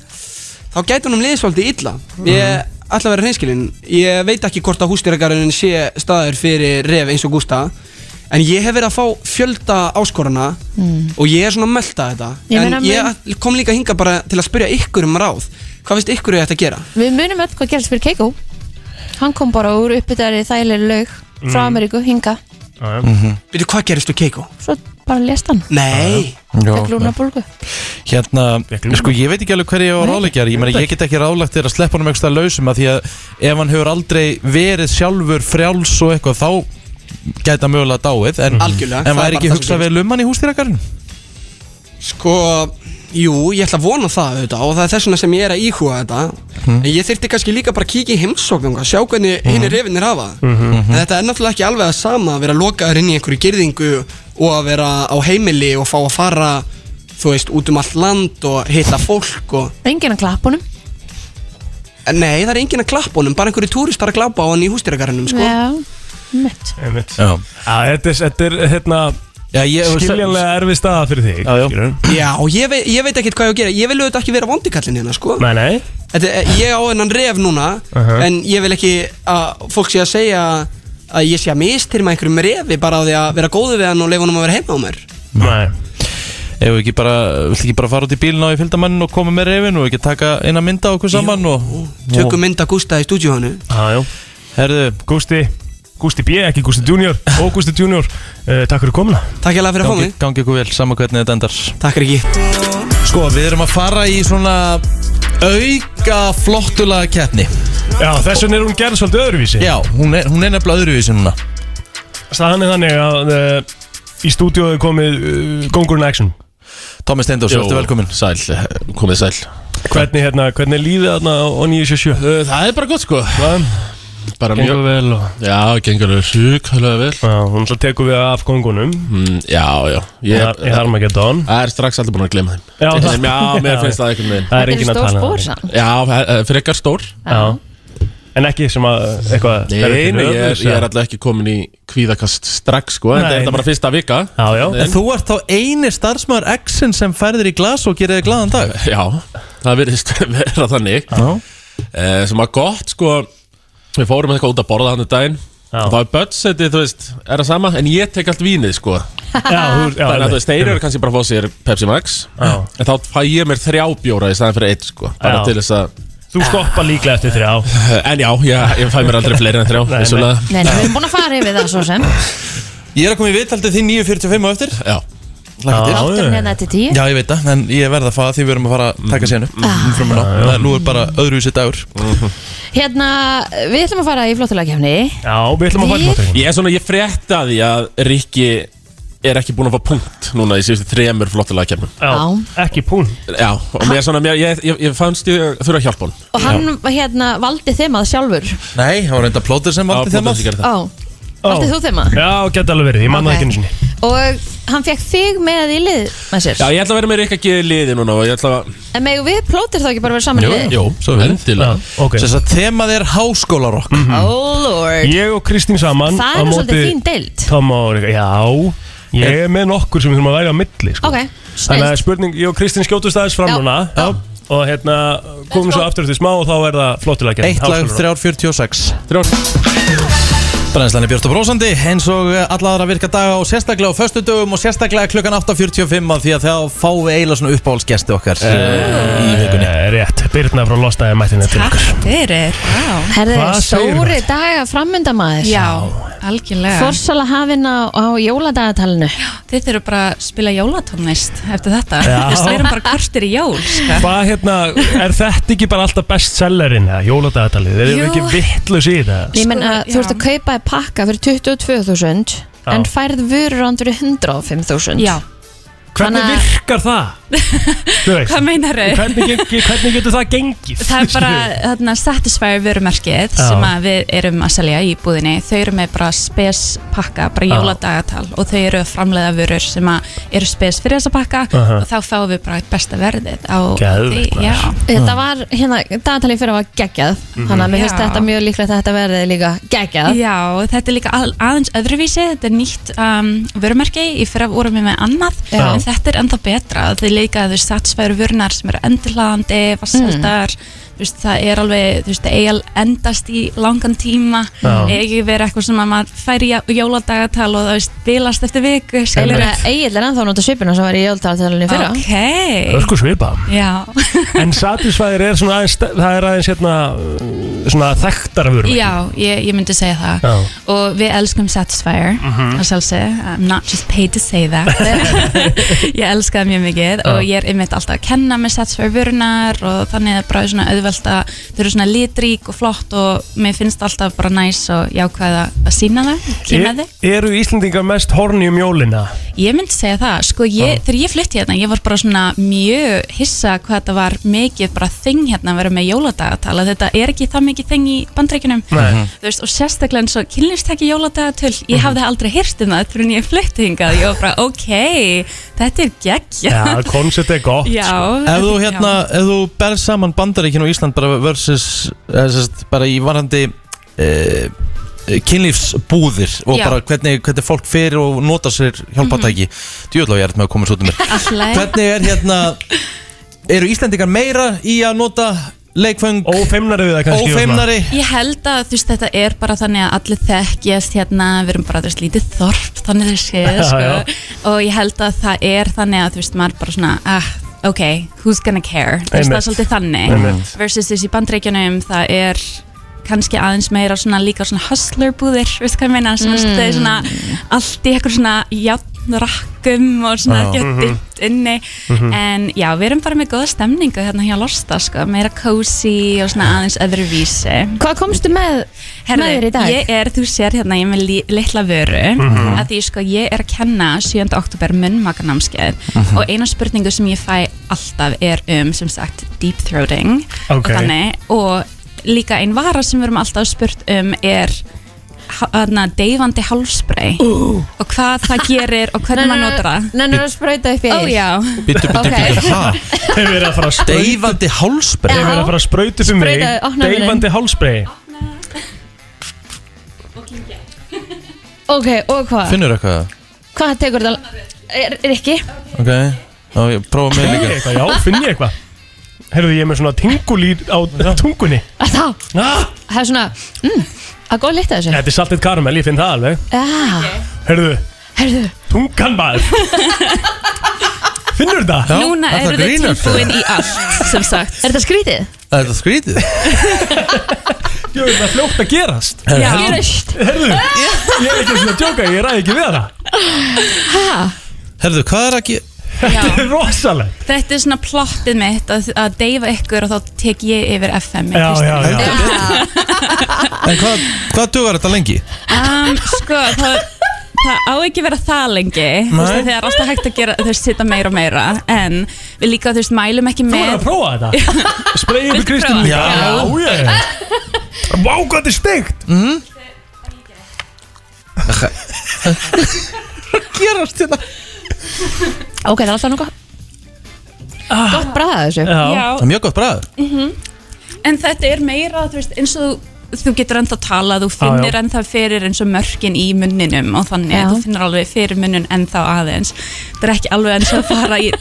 þá gæti hann um liðsvöldi illa ég ætla að vera hreinskilinn ég veit ekki hvort að hústýragarðin sé staður fyrir ref eins og Gústa en ég hef verið að fá fjölda áskorana
Mm.
og ég er svona að melta þetta
Ég meina,
en ég
mun-
ætl- kom líka hinga bara til að spyrja ykkur um ráð hvað finnst ykkur að þetta gera?
Við munum öll hvað gerist fyrir Keiko Hann kom bara úr uppbytari þægilegri laug frá
Mm.
Ameríku, hinga
Já, já.
Mhm.
Veitu hvað gerist þú Keiko?
Svo bara lest hann,
Nei,
fekk lúnabólgu
Hérna,
Fékk lúna.
sko ég veit ekki alveg hverju ég var ráleikjar Ég meina, ég get ekki rálegt þér að sleppa honum eitthvað lausum af Því að ef hann hefur aldrei verið sjálfur frjáls og eitthvað Þá gæta mögulega dáið En,
Algjörlega, það
en
er bara
væri ekki
það sem gerist.
hugsað vel um hann í hústýrakarinn?
sko Jú, ég ætla að vona það auðvitað og það er þess vegna sem ég er að íhuga þetta
Mhm.
En ég þyrfti kannski líka bara að kíkja í heimsóknum og sjá hvernig mm. hinn er refinir hafa
Mhm.
Mhm.
Mhm.
En þetta er náttúrulega ekki alveg að sama að vera lokaður inn í einhverju gyrðingu og að vera á heimili og fá að fara þú veist, út um allt land og hitta fólk og
Enginn að klappa honum
En Nei, það er enginn að klappa honum, bara einhverju túristar að klappa á hann í hústýragarunum sko.
Já, mitt
einmitt.
Já,
Já, Þetta er, þetta er hérna,
já ég
skiljanlega erfið staða fyrir þig
Já, já.
skilurðu.
Já, ég, ve ég veit ekkert hvað ég á að gera Ég vil auðvitað ekki vera vondikallin hérna, sko
Nei, nei
Þetta, er- Ég á hennan ref núna
Uh-huh.
En ég vil ekki að fólk sé að segja að ég sé að mistyrma einhverjum refi bara á því að vera góðu við hann og leifa hann að vera heima á mér
Nei,
um- Ef við ekki bara, vilt ekki bara fara út í bílinn á í fylgdamann og koma með reyfin og ekki taka eina mynda okkur saman og
Tökum mynd að Gústa í stúdíu hannu
já, já
Herðu,
Gústi, Gústi B, ekki Gústi Junior og Gústi Junior, uh, takk fyrir komuna
Takk hérlega fyrir að fá
gangi,
mig
gangi ykkur vel, sama hvernig þetta endar
Takk er ekki
Sko, við erum að fara í svona auka flottulega keppni
Já, þess vegna er hún gerð svolítið öðruvísi
Já, hún er, hún er nefnilega öðruvísi núna
Staðan er þannig að uh, í stúdíóðu komið uh, Gongurinn Action
Tómi Steindós,
Jó.
ertu velkomin
Sæl, eh, komið sæl
Hvernig, hérna, hvernig er lífið þarna á á 977?
Uh, Það er bara gott sko Bara
Gengur
mjög
vel og
Já, gengur alveg sjúkvæðlega vel
Já, hún ætla að teku við af kongunum
mm, Já, já
Ég þarf maður að geta hann
Það er strax aldrei búin að glema þeim
Já,
En,
það-
Já, mér
Já.
finnst það einhvern veginn
Það
Þetta er
enginn að
stór
tala um
spór
það.
samt
Já, eh, frekar stór
Já En ekki sem að eitthvað
Nei,
ferðin
nei, ég er,
öðruvísi.
ég er alltaf ekki komin í kvíðakast strax sko En
Nei,
þetta
nei.
er bara fyrsta vika
Já, já
Nei.
En þú ert þá eini starfsmæður X-in sem færðir í glas og gerir þig glaðan dag
Já, það virðist vera þannig
Já.
eh, Sem var gott sko Við fórum eitthvað út að borða hann um daginn
Já.
Og Það er budgetið, þú veist, er það sama En ég tek allt vínið sko
Já, þú,
Þannig að þú
já, einmitt.
veist, þeir eru kannski bara að fá sér Pepsi Max
Já.
En þá fæ ég mér þrjá bjóra í staðan fyrir eitt sko Bara
Já.
til þess að
þú stoppa líklega eftir þrjá
En já, ég, ég fæ mér aldrei fleiri en þrjá
Nei, nei.
vissulega.
Nei, nei, við erum búin að fara yfir það svo sem
Ég er að koma í viðtaldið þín 9.45 á eftir
Já,
Laka til
Þátturinn hérna til tíu
Já, ég veit það, en ég verð að fara því við erum að fara að
Mhm.
taka sér
Ah.
upp umfram hana. Það er- Nú er bara öðruvísi dagur
Mhm.
Hérna, við ætlum að fara í flottulega kemni
Já, við ætlum að fara í
Við-
flottuleikinn.
Ég er svona, ég frétta því að Rikki er ekki búinn að fá punkt núna í síðustu þremur flottulega kemur
Já, ekki pún
Já, og mér er svona, mér, ég, ég, ég fannst ég þurfa að hjálpa hún
Og hann hérna valdi þeim að sjálfur
Nei, það var reynda plótur sem valdi þeim að
að
Ó, valdi þú þeim að?
Já, geta alveg verið, ég manna
Ok.
okay. ekki einu sinni
Og hann fekk þig með í lið með sér
Já, ég ætla að vera með Rikki að geða liði núna og ég ætla að
En megum við plótir þá ekki bara vera saman í lið?
Jú,
svo við.
endilega
ok Mhm.
Þess að þemað er háskólarokk
Oh lord
Ég og Kristín saman
Það
á
er nú
móti
svolítið þín deild
Tom og Rika, já Ég er með nokkur sem við þurfum að væri á milli sko.
Ok,
Þannig að
snill
spurning, ég og Kristín skjótust aðeins fram
Já,
núna
já.
Og hérna, komum svo aftur til smá og þá er það flottilega
Eitt lag 346 Brænslan er Björn og Brósandi eins og allara virka daga og sérstaklega á föstudögum og sérstaklega klukkan 8.45 af því að þá fáum við eiginlega svona uppáhaldsgesti okkar
Eh.
eh, í vikunni
Rétt, Birna frá Lostæði mætti hérna til
Takk
okkur
fyrir, já,
Herði,
Hvað segirðu?
stóri daga framöndamaður
já algjörlega
Forsala hafinn á, á jóladagatalinu
Þið þurfum bara að spila jólatónlist eftir þetta
Já.
Við erum bara kortir í jól sko.
Hvað hérna, er þetta ekki bara alltaf bestsellerin eða jóladagatalið? Þeir eru
Jú.
ekki vittlus í það
Ég menna,
Sko,
þú
já.
ert að kaupa í pakka fyrir 22.000 En
Já.
færð vörur ándur 105.000
Já,
Hvernig
Þannig að-
virkar það? Þú veist,
hvað meinar þau?
hvernig, ge- hvernig getur það gengið?
Það er bara þarna Satisfyer vörumerkið
Já.
sem að við erum að selja í búðinni þau eru með bara spes pakka bara
Já.
jóladagatal og þau eru að framleiða vörur sem að eru spes fyrir þessa pakka
Aha.
og þá fáum við bara eitt besta verðið á
Geðveikt,
því
maður. Mm. Mhm.
já.
Þetta var, hérna, dagatalið fyrir var geggjað Þannig að mér finnst
Já.
þetta mjög líklegt að þetta verði líka geggjað
já, og þetta er líka að, aðeins öðruvísi þetta er nýtt um, vörumerki í fyrra vorum við með annað
Já.
en þetta er ennþá betra þau líka þau Satisfyer vörunar sem eru endurhlaðandi, vasseldar Þú veist, það er alveg, þú veist, það eiga að endast í langan tíma
Já.
ekki verið eitthvað sem að maður fær í já- jóladagatal og það veist, bilast eftir viku skilur
Einmitt.
það
Egil er ennþá að nota svipina sem var í jóladagatalinu fyrra
ok,
Örsku svipa
já
En satisfæðir er svona aðeins Það er aðeins hérna uh, Svona þekktar að vera
já, ég, ég myndi segja það
Já. Mhm.
og við elskum Satisfyer mm -hmm. að sjálfsög, I'm not just paid to say that ég elska það mjög mikið og ég er einmitt alltaf að kenna með Satisfyer vörunar og þannig að bara er svona auðvelt að þau eru svona litrík og flott og mér finnst alltaf bara næs og jákvæð að- að sína það, kynna þau
Eru Íslendingar mest horni um jólina?
Ég myndi segja það, sko ég, þegar ég flytti hérna, ég var bara svona mjög hissa hvað þetta var mikið bara þing hérna að vera með jóladagatal að þetta er ekki það mikið þing í bandreikunum
Nei.
þú veist, og sérstaklega eins og kynlýstekki jóladagatól, ég hafði aldrei hýrt um það fyrir en ég flytti hingað, ég var bara ok þetta er gegg
Já, koncept er gott sko.
Ef þú hérna, ef þú berð eh, saman bandaríkinn og Ísland bara versus, eða sérst, bara í varandi e, eh, kynlífsbúðir og
Já.
bara hvernig, hvernig fólk fer og nota sér hjálpatæki mm -hmm. djúðlega ég er með að koma svo til mér
Allt í lagi.
hvernig er hérna eru Íslendingar meira í að nota leikföng
ófeimnari við það kannski,
ófeimnari
Ég held að þú veist þetta er bara þannig að allir þekkjast hérna, við erum bara þessi lítið þorp þannig þeir séð
Já,
sko.
já.
og ég held að það er þannig að þú veist maður bara svona ah, ok, who's gonna care þú veist það
Einmitt.
er svolítið þannig
Einmitt.
versus þessi bandreikjunum það er kannski aðeins meira svona líka svona hustler búðir, veist hvað ég meina sem mm. er svona allt í eitthvað svona játnrakkum og svona
Já.
gett
Mhm.
dyrt inni
Mhm.
en já, við erum bara með góða stemningu hérna hjá Losta sko, meira cozy og svona aðeins öðruvísi
Hvað komstu með, með þér í dag?
ég er, þú sér hérna, ég er með li, litla vöru
Mhm.
að því sko, ég er að kenna 7. oktober munnmakanámskeið
Mhm.
og eina spurningu sem ég fæ alltaf er um, sem sagt, deep throating
Ok.
og þannig, og líka ein vara sem við erum alltaf spurt um er ha- þarna, deyfandi hálsbrei og hvað það gerir og hvernig maður notar það
Nennir að sprauta upp í
Ó já
Bittu, bittu, bittu, hæ?
Þeir verið að fara að sprauta
Deyfandi hálsbrei
Þeir verið að fara að sprauta fyrir mig
Sprautaðu, opnaðu munninn.
Deyfandi hálsbrei
Ok, og hvað?
Finnur eitthvað?
Hvað tekur þetta? Er, er ekki?
Ok, þá ég prófa mig
Finn ég
líka
eitthvað, já, finn ég eitthvað Herðu, ég er með svona tingulýr á tungunni
Að þá?
Ah,
Það er svona, mm, að góð lykta þessu. Ah.
Þetta er saltið karamell, ég finn það alveg
Já,
Herðu,
herðu.
tungan maður Finnur það?
Núna eru þið tilbúin í allt, sem sagt
Er þetta skrítið?
Það er það skrítið
Ég veit það er fljótt að gerast
Herðu, Já. heldur-
Gerist.
Herðu, ég er ekki svona að djóka, ég ræði ekki við hana
Hæ?
Herðu, hvað er að ge...
Þetta er rosalegt
Þetta er svona plottið mitt að, að deyfa ykkur og þá tek ég yfir FM í
Já,
Kristín.
já, já. En hvað, hvað dugar þetta lengi?
um, Sko, það, það á ekki að vera það lengi Þú veist
Nei.
að það er alltaf hægt að gera, þú veist, sitja meira og meira En við líka, þú veist, mælum ekki
Þú
með
verður að prófa þetta Spreyið yfir Kristín
prófa?
líka
Já.
já, já Vá, hvað þetta er steikt
Mhm.
mm. Gerast
hérna?
þetta
Ok, það er alltaf nokkuð Gott bragð af þessu.
Já.
Það er mjög gott bræð
Mhm. En þetta er meira, þú veist, eins og þú getur ennþá talað, þú finnir
já.
ennþá fyrir eins og mörkin í munninum og þannig,
Já.
þú finnir alveg fyrir munnun ennþá aðeins. Þetta er ekki alveg eins og að fara í,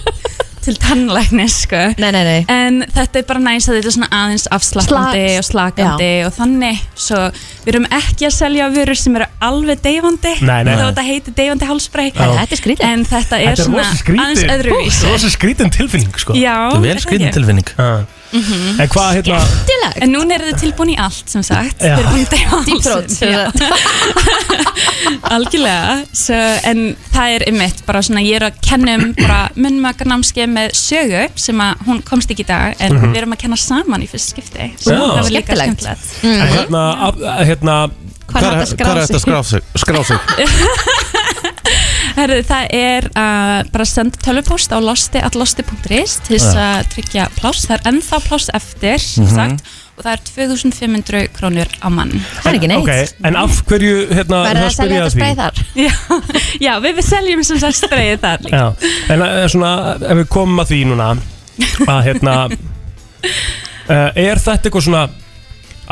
til tannlæknis, sko.
Nei, nei, nei.
En þetta er bara næst að þetta er svona aðeins afslappandi
Slags.
og slakandi og þannig. Svo við erum ekki að selja vörur sem eru alveg deyfandi,
Nei, nei,
þá
nei.
þetta heitir deyfandi hálsbrei.
Já. Þetta
er skrítið.
En þetta er,
Þetta er
svona
rosa skrítin
aðeins öðruvísi.
Rosa skrítin tilfinning, sko Ah.
Já, Þetta er vel er það skrítin ekki?
tilfinning
Mhm.
En hvað, hérna
Skemmtilegt En núna eru þið tilbúin í allt sem sagt
Já.
Þið eru búin að deyfa
Deep throat, sem
allt Algjörlega so, En það er ymmit bara svona Ég er að kenna um bara munnmakanámskeið með sögu sem að hún komst ekki í dag en
Mhm.
við erum að kenna saman í fyrst skipti Svo
Já.
það var líka
Skemmtilegt. Mhm.
skemmtilegt
En hérna, að- hérna
Hvar er hægt að skrá
Hvað er þetta
sig?
að skrá sig? Skrá sig
Herðu, það er uh, bara að senda tölvupóst á losti.losti.is til þess
Já.
að tryggja pláss það er ennþá pláss eftir sem
Mhm.
sagt, og það er 2500 krónur á mann
Það er ekki neitt.
Ok, en af hverju, hérna
Verður
það
að selja
spyrja
þetta
að því.
spreið þar?
Já, við, við seljum sem sagt spreið þar líka.
Já, en eh, svona, ef við komum að því núna að hérna uh, er þetta eitthvað svona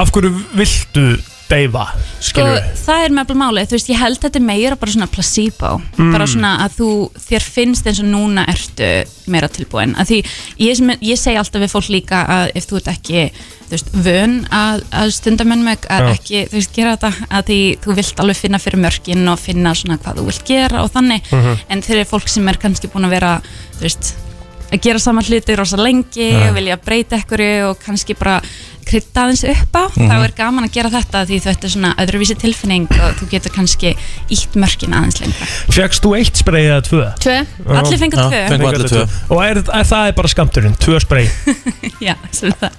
af hverju viltu deyfa,
Sko,
skilur við?
það er með alveg málið, þú veist, ég held þetta er meira bara svona placebo,
Mm.
bara svona að þú, þér finnst eins og núna ertu meira tilbúin, að því ég, sem- ég segi alltaf við fólk líka að ef þú ert ekki, þú veist, vön að, að stunda mönnmög, að
Já.
ekki, þú veist, gera þetta, að því þú vilt alveg finna fyrir mörkin og finna svona hvað þú vilt gera og þannig,
Mhm.
en þeir eru fólk sem er kannski búin að vera, þú veist, að gera saman hluti rosa lengi
Já.
og vilja breyta ekkur og kannski bara krydda aðeins upp á,
Mhm.
þá er gaman að gera þetta því þetta er svona öðruvísi tilfinning og þú getur kannski ítt mörkin aðeins lengra
Fjökkst þú eitt spreið eða tvö?
Tvö, allir fengur
Já,
tvö
fengu allir tvö. Og er, er, það er bara skamturinn, tvö spreið
Já, sem það,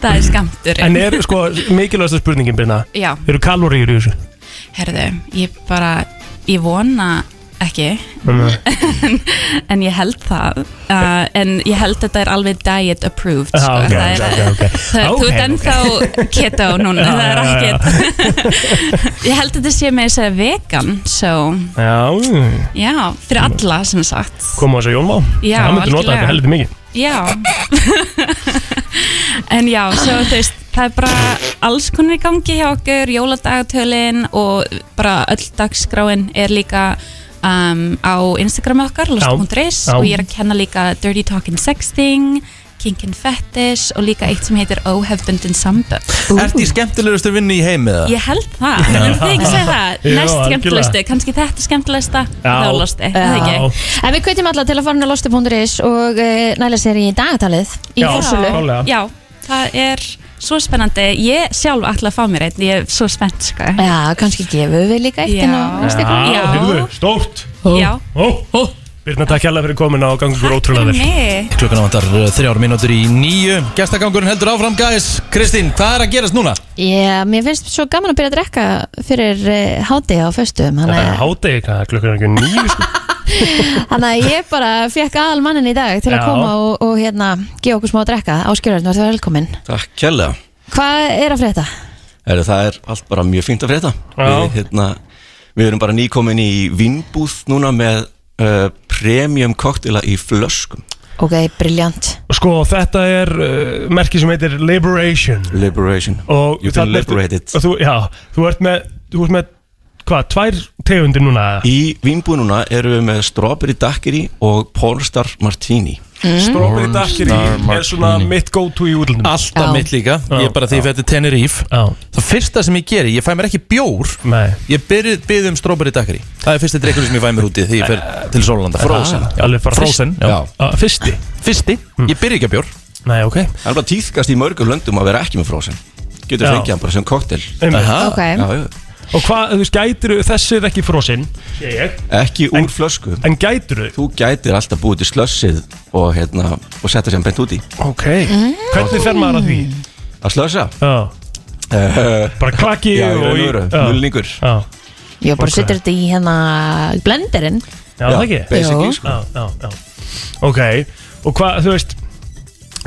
það er skamtur
En er, sko, mikilvægsta spurningin byrna
Já.
Eru kaloríur í þessu?
Herðu, ég bara, ég vona ekki
Mhm.
en, en ég held það uh, en ég held þetta er alveg diet approved sko.
Já, Ah, ok,
það er,
ok, ok.
Það, þú
Ok,
ert ennþá keto núna,
Já,
það er
já, já, já.
ekkert Ég held þetta sé með þess að vegan so,
Já,
já, fyrir alla sem sagt
koma þessu Jónvá
Já,
Það myndi nota
algjörlega.
þetta heldur mikið
Já En já, svo þú veist það er bara alls konar í gangi hjá okkur, jóladagatölin og bara öll dagskráin er líka um, á Instagram okkar, lost.is
Já.
og ég er að kenna líka Dirty Talking Sexting Kink and Fetish og líka eitt sem heitir Oh Hefbundin Sambönd
Ert í skemmtilegustur vinnu í heimi eða?
Ég held það,
Já.
en þið ekki segja það
Jú,
Næst
algjörlega.
skemmtilegstu, Eh, kannski þetta skemmtilegsta Það var losti, er það ekki
En við kveitum alla til að fara inn á losti.is og eh, næla sér í dagatalið í fórsölu
Já, það er svo spennandi Ég sjálf ætla að fá mér einn, ég er svo spennt sko.
Já, kannski gefum við líka eitt inn á næstu ykkur
Já.
heyrðu, stórt
Já.
Ó, ó. Birna, takk hérlega fyrir komin á gangur ykkur ótrúlega vel
Nei
Klukkan vantar uh, þrjár mínútur í nýju Gestagangurinn heldur áfram, guys Kristín, hvað er að gerast núna?
Já, mér finnst svo gaman að byrja að drekka fyrir eh, hádegi á föstum
Það
Þannig
er hádegi, hvað, klukkan er ekki nýju sko.
þannig að ég bara fekk aðal mannin í dag til að
Já.
koma og, og hérna, gefa okkur smá að drekka Áskjörðurinn, var það velkomin
Takk kjærlega
Hvað er að frétta?
Heru, Það er allt bara mjög fínt að frétta
Já.
við, hérna, við erum bara nýkomin í vinnbúð núna með uh, premium koktila í flöskum
Ok, briljant
Sko, þetta er uh, merki sem heitir Liberation
Liberation
og
You can
þarna ertu-
liberate it
og þú, Já, þú ert með, þú ert með hvað, tvær tegundir núna
Í vinnbúð núna erum við með strawberry daiquiri og pornstar martini
Hmm. Strawberry daiquiri
Pornstar
er svona
martini.
mitt go to í útlundum
Alltaf mitt líka, ég er bara því að þetta er Tenerife Það fyrsta sem ég geri, ég fæ mér ekki bjór
Nei.
Ég byrði byrð um strawberry daiquiri Það er fyrsti drikkur sem ég fæ mér úti því ég fer til Sólanda
Frozen.
Já.
Alveg bara
Frozen,
fyrst- Já.
já Fyrsti
Fyrsti, ég byrði ekki að bjór
Hmm. Nei, ok
Það er bara týðkast í mörgum löndum að vera ekki með frozen Getur
Já.
fengið hann bara sem koktel
Einmitt. Ok.
já, já.
Og hvað, þú veist, gætir þessi er ekki frosinn Ég
Ekki úr flösku
En gætir þau?
Þú gætir alltaf búið til slössið og, hérna, og setja sem bent út í
Ok Mm. Hvernig fer maður að því?
Að slössa?
Já Bara klaki
Já, í raun
og í-
og
já.
veru, mulningur
Já,
Ég bara setur þetta í hérna blenderinn
já sko. það ekki?
Jú.
sko.
já, já, já. Ok, og hvað, þú veist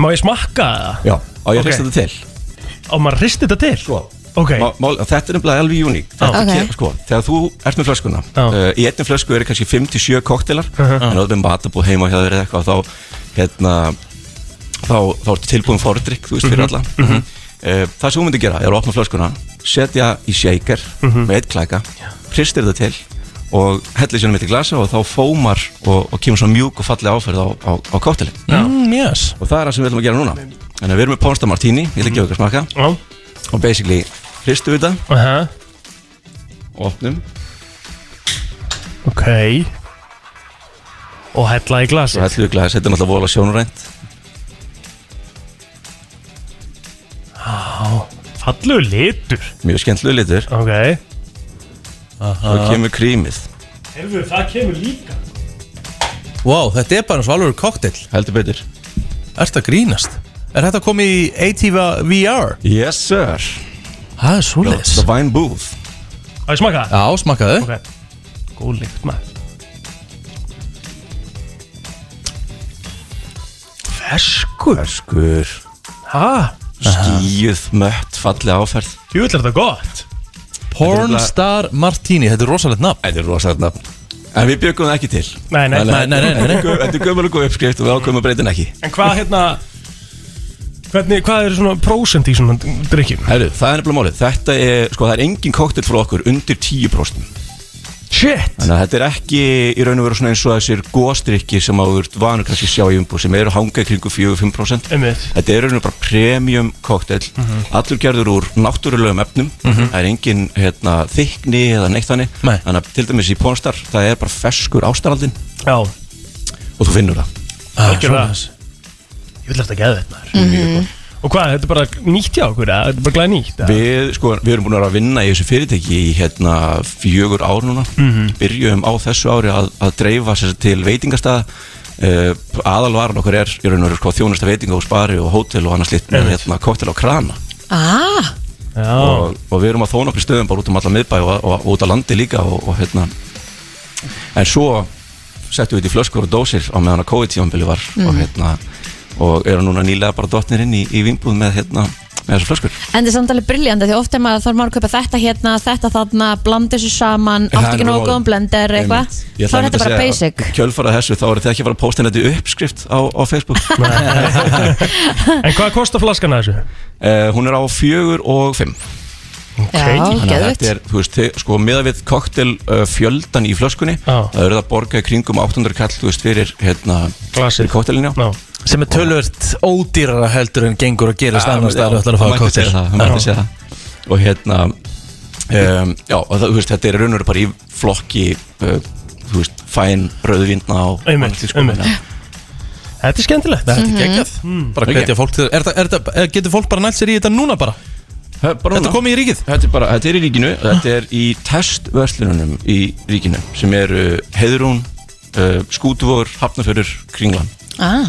Má ég smakka það?
Já, á ég að hrista þetta til
Á maður hristi þetta til?
Sko
Ok
Má, má, þetta er nefnilega alveg uník
Já. Ok.
sko, Þegar þú ert með flöskuna
Já. Uh-huh.
uh, Í einni flösku eru kannski 5-7 koktelar En þú ert með matabúð heima hjá þér eða eitthvað Þá, hérna, þá, þá ertu tilbúin fordrykk Þú veist fyrir
Mhm.
alla
Mhm.
uh, Það sem þú myndir gera er að opna flöskuna Setja í shaker
Mhm.
með eitt klæka Hristir þetta til og hellir sér um eitt í glasa og þá fómar og, og kemur svona mjúk og falleg áferð á, á, á koktelin
Mm, yes.
og það er það sem við ætlum að gera núna Þannig að við erum með Ponsta Martini, ég ætla ekki að auka smaka
Mhm. Já.
og basically hristu við það
Aha,
opnum
Ok Og hella í glasi
og hellum við glas, þetta er náttúrulega vola sjónurænt
Já, fallegu litur
mjög skemmtlu litur
Ok
og kemur krímið
Hefur það kemur líka
Wow, þetta er bara eins og alveg koktel
Heldur betur
Ert að grínast? Er þetta að koma í ATV VR?
Yes sir
Það er svoleiðis
The Vine Booth
Á ég smaka það?
Já, smakkaðu
Ok, góð lykt maður Ferskur
Ferskur
Hæ?
Skíuð, mött, falleg áferð
Jú, er þetta gott
Pornstar Martini, þetta er rosalegt nafn
Þetta er rosalegt nafn En við bjökum það ekki til
Nei, nei.
Þannig að
Nei, nei, nei, nei, nei.
Þetta er gömur og góð uppskrift og við ákveðum að breyta henni ekki
En hvað hérna Hvernig, hvað er svona prósent í svona drikkjum?
Herru, það er nefnilega málið Þetta er, sko, það er engin koktel frá okkur undir 10%
Shit
Þannig að þetta er ekki í raun og veru svona eins og þessir góðstrykki sem að þú ert vanur kannski að sjá í umbúð sem eru að hanga í kringu 4-5%
Einmitt.
Þetta er í raun og veru bara premium koktel
Mhm.
Allur gerður úr náttúrulegum efnum
Mhm.
Það er engin hérna, þykni eða neitt þannig
Nei.
Þannig að til dæmis í Pornstar það er bara ferskur ástaraldin
Já
og þú finnur það
Ah,
Algjörlega Ég vil þetta geða þetta maður Og hvað, þetta er bara nýtt hjá okkur, eða? þetta er bara glæð nýtt eða?
Við, sko, við erum búin að vera að vinna í þessu fyrirtæki í hérna fjögur ár núna
Mhm.
Byrjum á þessu ári að, að dreifa sér til veitingastað uh, Aðalvaran okkur er í raun og veru sko, þjónusta veitinga og spari og hótel og annars litt með hérna koktel á krana
Ah,
og, og við erum að þóna okkur stöðum bara út um alla miðbæ og, og, og út á landi líka og, og hérna En svo settum við þetta í flöskur og dósir á meðan að COVID tímanbili var og
Mhm.
hérna og eru núna nýlega bara dottnir inn í, í vinnbúð með hérna með þessar flöskur
En það er samt alveg briljandi því oft er maður þarf maður að kaupa þetta hérna, þetta þarna, blanda þessu saman,
Það
átt
er
ekki
nú
nógu góðum blender eitthvað.
Einmitt. Ég
Þá
ætla
er
einmitt
þetta
að
bara
segja,
basic.
Kjölfarað þessu þá eru þið ekki að fara að posta þetta í uppskrift á, á Facebook
En hvað kostar flaskana þessu?
Eh, hún er á fjögur og fimm
Já,
Þannig að
geðveikt.
þetta er, þú veist, þið- sko miða við koktel uh, fjöldan í flöskunni
Já.
það eru það að borga í kringum 800 kall, þú veist, fyrir hérna, fyrir koktelin, já
sem er tölvöld ódýrara heldur en gengur að gerast
Já,
annar
já,
staðar og ætlar að fá
það mætti
kokteil.
segja það, það mætti segja það og hérna um, já, og það, þú veist, þetta er raun og raunur bara í flokki uh, þú veist, fæn, rauðvindna og
Einmitt,
annað því, sko,
einmitt.
þannig
Þetta er skemmtilegt
Þetta er
Mhm.
geggjað
Mm.
Bara
Ok.
hvetja fólk til er, það- er, það- er, Getur fólk bara nælt sér í þetta núna bara?
að- bara
Þetta
núna.
komið í ríkið
þetta er bara, þetta er í ríkinu þetta er í testverslununum í ríkinu sem eru Heiðrún, uh, Skútuvor Hafnafjörður, Kringlan
Ah.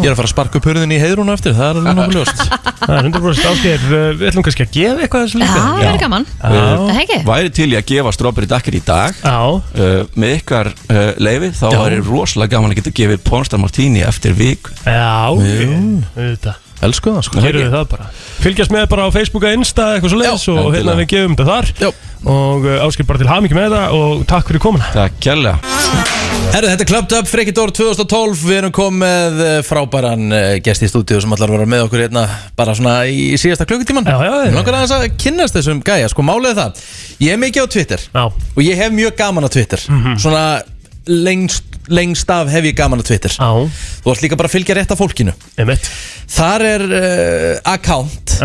Ég er að fara að sparka upp hurðin í heiðrún á eftir Það er alveg nokkuð ljóst
Það er 100% áskir Við ætlum kannski að gefa eitthvað þessu
Já,
líka
það verður gaman. Það er ekki?
væri til í að gefa strawberry dakkar í dag Eh,
uh,
með ykkar uh, leifi þá
Já.
væri rosalega gaman að geta gefið Pornstar Martini eftir vik
Já,
Jú.
þetta
Elsku það sko
Gerum við það bara Fylgjast með bara á Facebook og Insta eitthvað svo leiðis og hérna
endilega.
við gefum þetta þar
Já.
og uh, áskil bara til hamingi með það og takk fyrir komuna
Takk kjærlega
Herðu, þetta er Clubbed Up, Freki Dór 2012 Við erum komið með frábæran eh, gest í stúdíu sem allar vera með okkur hérna bara svona í síðasta klukkutíman Já, já, já Nókar aðeins að kynnast þessum gæja, sko málið er það Ég er mikið á Twitter
Já Mhm.
Og ég hef mjög gaman á Twitter Svona lengst, lengst af hef ég gaman á Twitter
Já
Þú ert líka bara að fylgja rétt af fólkinu
Einmitt
Þar er uh, account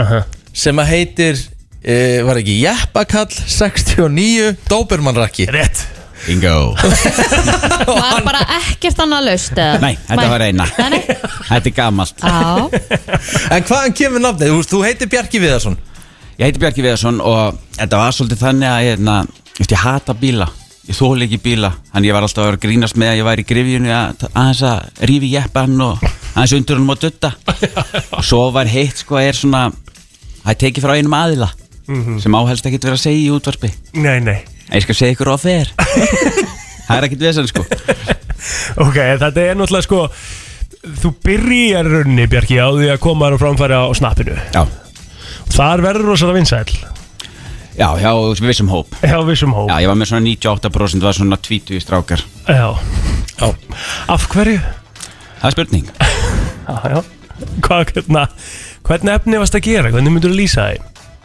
sem að heitir uh, var ekki Jeppakall 69 Dóbermannrakki
Rétt
Bingo
Var bara ekkert annað laust eða?
Nei, þetta var eina Þetta er gamalt
Já,
En hvaðan kemur nafnið? Þú, veist, þú heitir Bjarki Viðarsson
Ég heiti Bjarki Viðarsson og þetta var svolítið þannig að ég, na, ég, ég hata bíla Ég þóli ekki bíla Þannig ég var alltaf að vera að grínast með að ég væri í grifjunni að aðeins að rífi jeppan og aðeins undur honum að dutta og Svo var heitt sko er svona Það er tekið frá einum aðila
Mhm.
sem áhelst ekkert vera að segja í útvarpi
Nei, nei
En ég skal segja ykkur á þér Það er ekkert vesen sko
Ok, þetta er náttúrulega sko Þú byrjar í rauninni, Bjarki, á því að koma þér á framfæri á snappinu
Já
Þar verður rosalega vinsæll
Já, já, við vissum hóp
Já, vissum hóp
Já, ég var með svona 98% var svona 20 strákar
Já
Já
Af hverju?
Það er spurning
Já, já Hvað, hérna Hvernig efni varst að gera? Hvernig myndur þú lýsa því?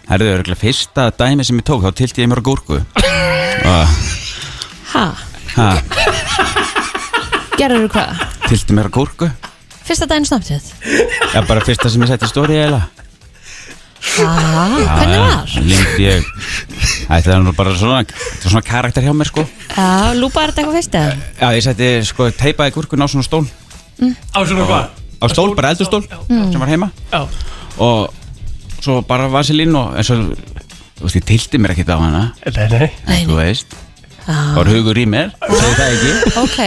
Herðu, örgulega fyrsta dæmi sem ég tók þá tilti ég mér á gúrku Ah,
ha,
ha,
gerður þú hvað?
Tilti mér á gúrku
Fyrsta daginn snabbt
Já, bara fyrsta sem ég setti stóri eða
Ah, hvernig var?
Lengdi ég Æ, Það er nú bara svona, þetta var svona karakter hjá mér sko
Já, lúpaði þetta eitthvað fyrst eða?
Já, ég setti sko teipaði gúrkun á svona stól
Á svona hvað?
Á stól, bara eldurstól
Mm.
sem var heima
Já
Og svo bara vasilín og eins og Þú veist, ég tilti mér ekkert á hana
Nei, nei
En Þú veist,
Ah.
það var hugur í mér Segði það ekki
Ok,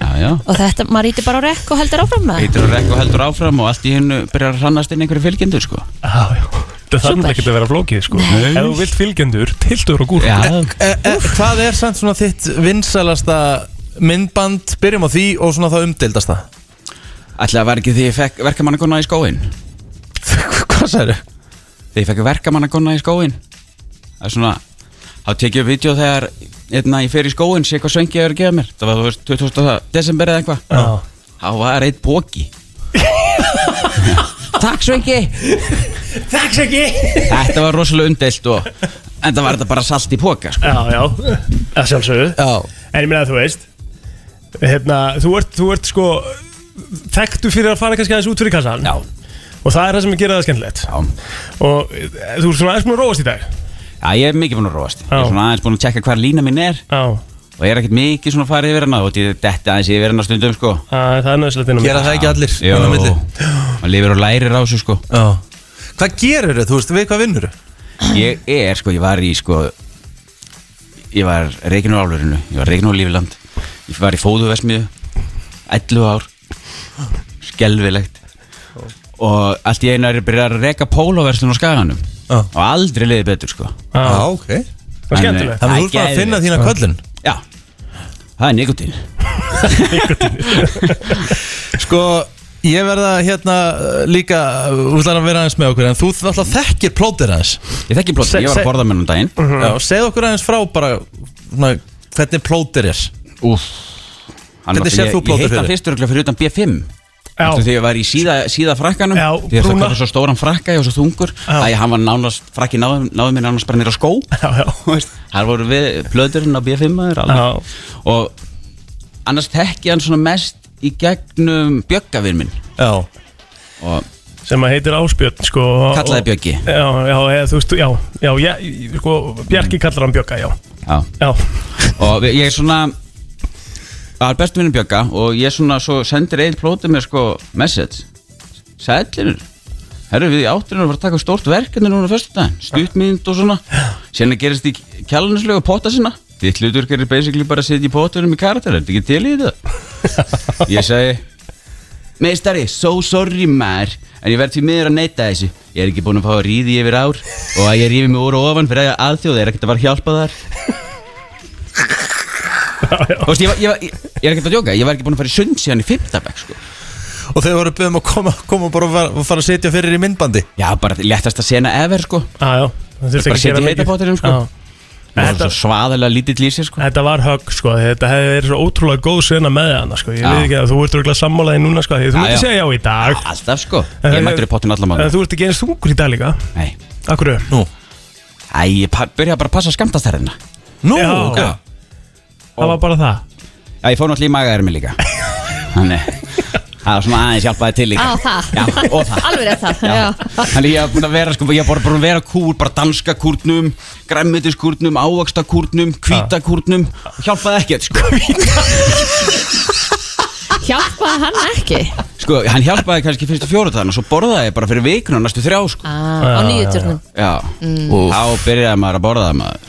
Já, já
og þetta, maður ítir bara á rekk og heldur áfram með
Eitir og rekk og heldur áfram og allt í hennu byrjar að hrannast inn einhverju fylgjendur sko
Það þarf náttúrulega ekki að vera flókið sko
Nei.
Ef þú vilt fylgjendur, tiltur á gúrku
Já.
e, e, Hvað er samt svona þitt vinsalasta myndband, byrjum á því og svona það umdeildasta
Ætli það var ekki því ég fekk verkamannakonna í skóin
Hvað sagðu?
Því ég fekk verkamannakonna í skóin Það er svona Þá tekið ég upp vídeo þegar einna, ég fer í skóin sé hvað svengi ég er að gefa mér Það var þú veist 20. desember eða
Já.
eitthvað Þá var eitt bóki Takk svengi
Takk svo ekki
Þetta var rosalega umdelt og En það var þetta bara salt í póka sko.
Já, já, að sjálfsögðu
já.
En ég meina að þú veist hérna, þú, ert, þú ert sko Þekktu fyrir að fara kannski aðeins út fyrir kassan Já Og það er það sem gerir það skemmtilegt
Já
Og e, þú ert svona aðeins mér að róast í dag
Já, ég er mikið búin að róast Ég er svona aðeins búin að tjekka hvar lína mín er
Já
Og ég er ekkert mikið svona farið yfir hana Og þetta aðeins yfir hana stundum sko
Æ, Það er nöðslega inn á
Gera það ekki allir
Jó,
inn á milli?
maður lifir og lærir á þessu sko
Já Hvað gerir þau? Þú veist, við hvað vinnur þau?
Ég er sko, ég var í sko Ég var reikinu á álverinu Ég var reikinu á lífiland Ég var í fóðuversmiðu 11 ár Skelvilegt Og allt í einu er ég byrjað að reka pólóverslun á skaganum Og aldrei liðið betur sko
Já, Ah, ok
Ah. eh, Það er skemmtilegt.
Þannig að þú ert bara að finna þína köllun
Já Það er nikotín
Sko, Ég verða hérna uh, líka uh, Þú ætlar að vera aðeins með okkur En þú alltaf þekkir plótir aðeins
Ég þekki plóter, ég var að borða með hann um daginn
Já, segð okkur aðeins frá bara svona, Hvernig plótir er
Úf,
Hvernig sér þú
Ég
plótir
heit hann
fyrir?
fyrst örgulega fyrir utan B5 Eftir þegar ég var í síða, síða frakkanum Já, brúna Þegar það
brúna.
kaupið svo stóran frakka, ég var svo þungur Æ, hann var nánast, frakki náði, náði mér nánast bara nýra skó Já, já Þar voru við plöðurinn á B5 maður alveg Og annars þekki hann svona mest í gegnum bjöggavinn minn
Já
Og
sem að heitir Ásbjörn sko, og-
Kallaði Bjöggi.
já, já, eða, þú veist, já, já, já sko, Bjarki kallar hann Bjögga, já
Já,
já.
og við- ég er svona Það er bestu vinnum Bjögga og ég svona svo sendir einn plótið með sko message Sætlinur Herru við í áttunum að fara að taka stórt verkefni núna fyrstu daginn, stuttmynd og svona Sérna gerist í kjálunislegu potta sinna Þitt hlutverk er basically bara að setja í pottunum í karakter, er þetta ekki til í þetta? Ég segi Meistari, so sorry maður En ég verð því miður að neyta þessu Ég er ekki búinn að fá að ríði yfir ár Og að ég rífi mig úr og ofan fyrir að aðþjóð er ekkert að fara að hjálpa þar Þú veist, ég, var- ég, var- ég, ég er ekkert að djóka Ég var ekki búinn að fara í sund síðan í fimmtabæk sko.
Og þau voru byggðum að koma, koma bara og fara, og fara að setja fyrir í myndbandi
Já, bara léttast að sena efer sko
Já, já Það
Bara
þurfti ekki að
setja
gera
í
mikið.
heitapottinum sko
Já.
Það var svo svaðalega lítill í sér sko
Þetta var högg sko, þetta hefði verið svo ótrúlega góð sena með hana sko, ég
Já.
veit ekki að þú ert örgulega sammálaði núna sko, því þú
Já,
myndir
já.
segja já í dag
Alltaf sko,
En
ég
það-
mættur í pottin allan
En
mánu
þú ert ekki eins þungur í dag líka
Nei,
Akkur
Nú
Æ, ég pa- byrja bara að passa skamtastærðina
Nú,
Já.
ok
Það var bara það
Já, ég fór náttúrulega í magaðarmi líka Þannig, það var svona aðeins hjálpaði til líka
Á það
Já, og það
Alveg rétt það
Já.
Já.
Þannig ég hef búin að vera sko, ég hef bara búin að vera kúr, bara danska kúrnum, græmmitis kúrnum, ávaksta kúrnum, hvíta kúrnum, hjálpaði ekkert sko.
Hjálpaði hann ekki
sko hann hjálpaði kannski fyrstu fjóru þannig og svo borðaði ég bara fyrir vikuna næstu þrjá sko.
ah, Á nýju turnum
Já,
Mm.
þá byrjaði maður að borða maður.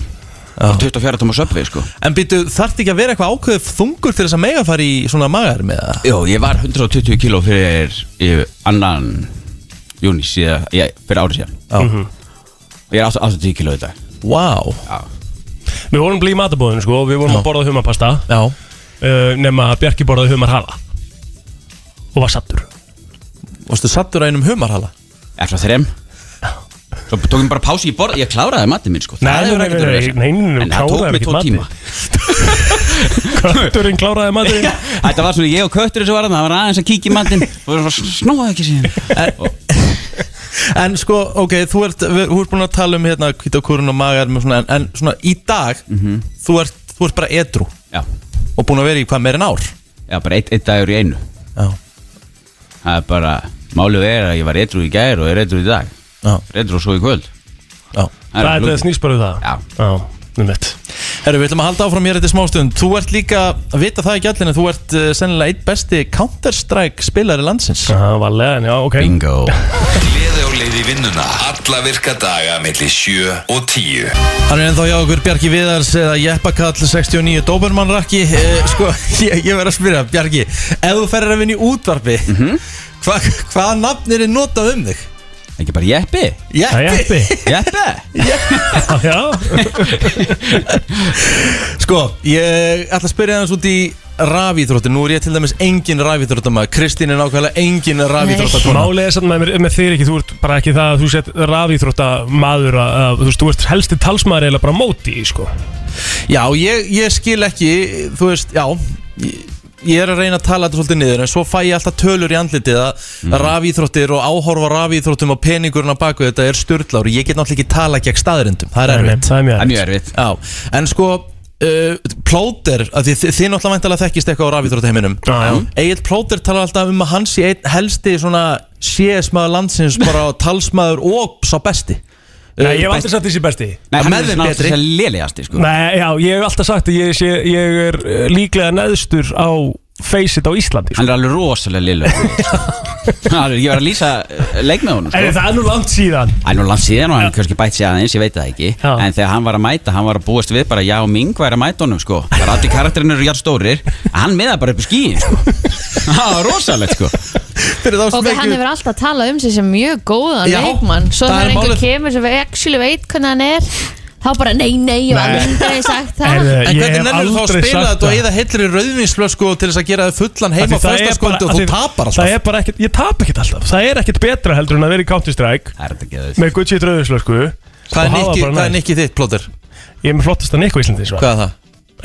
Á 24 tóma söpvi sko.
En býtu, þarf ekki að vera eitthvað ákveðið þungur til þess að mega fara í svona magar með það?
Jó, ég var 120 kíló fyrir yfir annan júni síðan, ég, fyrir árið síðan.
Já. Mhm.
Og ég er 80 kíló í dag.
Vá
Já.
Við vorum blíð í matabóðinu sko, við vorum að borða humarpasta
Já
uh, Nefna að Bjarki borðaði humarhala Og var sattur
Varstu sattur að einum humarhala?
Eftir að þrem Svo tókum bara pási í borð Ég kláraði matið minn sko
Nei,
Það
nei,
hefur
nei,
ekkert
nei,
verið
nei, nei, nei,
En það tók
kláraði
mig
ekkert
tvo
matinn.
tíma
Kötturinn kláraði matinn
Þetta var svona ég og kötturinn sem var að Það var aðeins að kíkja í matinn Og það var svona snóaði ekki síðan Og-
En sko, ok, þú ert, við, þú ert búin að tala um hérna kvítakúrun og magar svona, en, en svona í dag, þú, ert, þú ert bara edru
Mhm. Já.
og búin að vera í hvað meir en ár
Já, bara eitt, eitt dagur í einu
Já.
Það er bara Málið er að ég var eitru í gær og er eitru í dag
Já.
Eitru svo í kvöld
Já
Það er þetta snýst bara um það
Já,
já um nefnitt
Herru, við ætlum að halda áfram hér eftir smástund Þú ert líka, að vita það ekki allir en þú ert uh, sennilega eitt besti Counter-Strike spilari landsins
Já, varlega, en já, ok
Bingo
Gleði á leið í vinnuna Alla virka daga melli 7 og 10
Hann er ennþá hjá okkur Bjarki Viðars eða Jeppakall 69 Dobermann Rakki eh, Sko, ég, ég verð að spyrja, Bjarki Ef þú ferir að vinna í útvarpi mm
Mhm.
-hmm. hva, Hvaða nafn er þið notað um þig?
Ekki bara jeppi
Jeppi
Jeppi
Jeppi
Já
Sko, ég ætla að spyrja hans út í rafíþróttir Nú er ég til dæmis engin rafíþróttamaður Kristín er nákvæmlega engin rafíþróttakona
Málið er samt með, mér- með þér ekki, þú ert bara ekki það að þú sett rafíþrótta maður að, að þú veist, þú ert helsti talsmaður eiginlega bara á móti, í, sko
Já, ég, ég skil ekki, þú veist, já ég, ég er að reyna að tala þetta svolítið niður En svo fæ ég alltaf tölur í andlitið að
Mhm.
rafíþróttir og áhorfa á rafíþróttum og peningurinn á baku þetta er störtlári Ég get náttúrulega ekki tala gegn staðrindum, það
Nei,
er
nei,
erfitt
Það er
Það
mjög
er mjög erfitt
Já, en sko, uh, plóter, af því þið, þið náttúrulega væntalega þekkist eitthvað á rafíþróttaheiminum
erfitt
Egil Plóter talar alltaf um að hann sé einn helsti svona CS-maður landsins bara á talsmaður og sá besti Uh,
Nei, ég hef aldrei sagt þessi besti
Eh, Nei, hann
með
er
þeim
svona
betri.
þess að lélegasti sko
Nei, já, ég hef alltaf sagt að ég, sé, ég er eh, líklega neðstur á Faceit á Íslandi sko.
Hann er alveg rosalega lélegur sko. Hann er- Ég var að lýsa leik með honum sko.
En það er nú langt síðan
Það er nú langt síðan og hann kannski bætt sér aðeins, ég veit það ekki
Já.
En þegar hann var að mæta, hann var að búast við bara Já, Ming væri að mæta honum, sko Það er allir karakterinn eru jætt stórir en Hann miðaði bara upp í skíin, sko Það var rosalegt, sko
Fyrir þá
Og
sem
hann
ekki
hefur alltaf talað um sig sem mjög góðan
Já,
leikmann Svo
það
þegar
er
einhver
málið.
kemur sem við actually veit hvernig hann er þá bara nei, nei, ég hef
Nei.
aldrei sagt það
Heyrðu,
En eh, hvernig
hef
nennir þú þá að
aldrei
spila
sagt
þetta og
það.
eða heillir í rauðvinslösku til þess að gera þið fullan
Af því
heima á
það er bara-
föstaskvöldu og
af
þú
því
tapar alltaf
Það er bara ekkert, ég tap ekkert alltaf Það er ekkert betra heldur en að vera í Counter Strike Með Gucci dröðuslösku
Hvað er nikki- hvað er nikki þitt, plóter?
Ég er með flottasta nikku í Íslandi svo.
Hvað er það?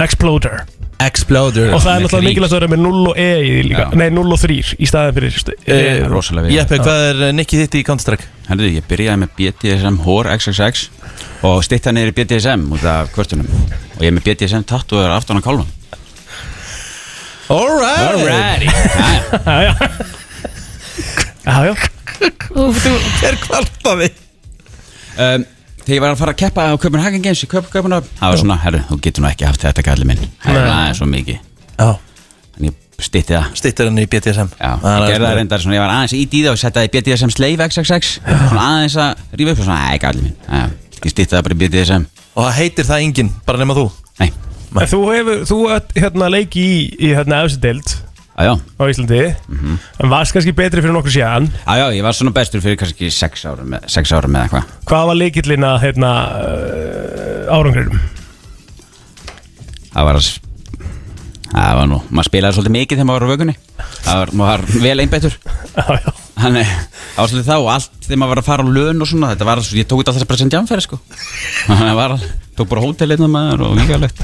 Exploder
Exploder
Og það er náttúrulega mikilvægt að vera með 0 og E í líka Nei, 0 og 3 í staðin fyrir st- E.
Eh, rosalega vel.
Jeppe, hvað er eh, nikki þitt í Counter-Strike?
Herðu, ég byrjaði með BDSM Hór XXX og stýtti hann niður í BDSM út af kvörtunum og ég er með BDSM tattooður aftan á kálvan
Alrighty
Jájá
Úf, þú er kvartaði
um, Þegar ég var að fara að keppa á Copenhagen Games í Köp- Köpenhafn Það var svona, herru, þú getur nú ekki haft þetta kalli minn Það er
Nei.
aðeins svo mikið
Já.
Þannig ég stýtti það
Stýttir hann í BDSM
Já,
Það er
ég gerði
aðeins
það
meira.
reyndar svona, ég var aðeins í dýða og setti það í BDSM Slave XXX Svona aðeins að rífa upp og svona, ei, kalli minn Já, Ég stýtti það bara í BDSM
Og það heitir það enginn, bara nema þú?
Nei
En þú hefur, þú ert hérna leiki í, í hérna efstu deild
Ajá.
Á Íslandi En varst kannski betri fyrir nokkur síðan
Mhm. Já, já, ég var svona bestur fyrir kannski 6 árum, eða- sex árum eða eitthvað
Hvað var leikillin að hérna uh, árangrirum?
það var að s- það var nú, maður spilaði svolítið mikið þegar maður var á vögunni það var, maður var vel einbættur þannig, það var svolítið þá og allt þegar maður var að fara á lön og svona þetta var, alls- ég tók þetta alltaf bara sem jamfæri sko þannig að var, tók bara hótelinn maður og vikalegt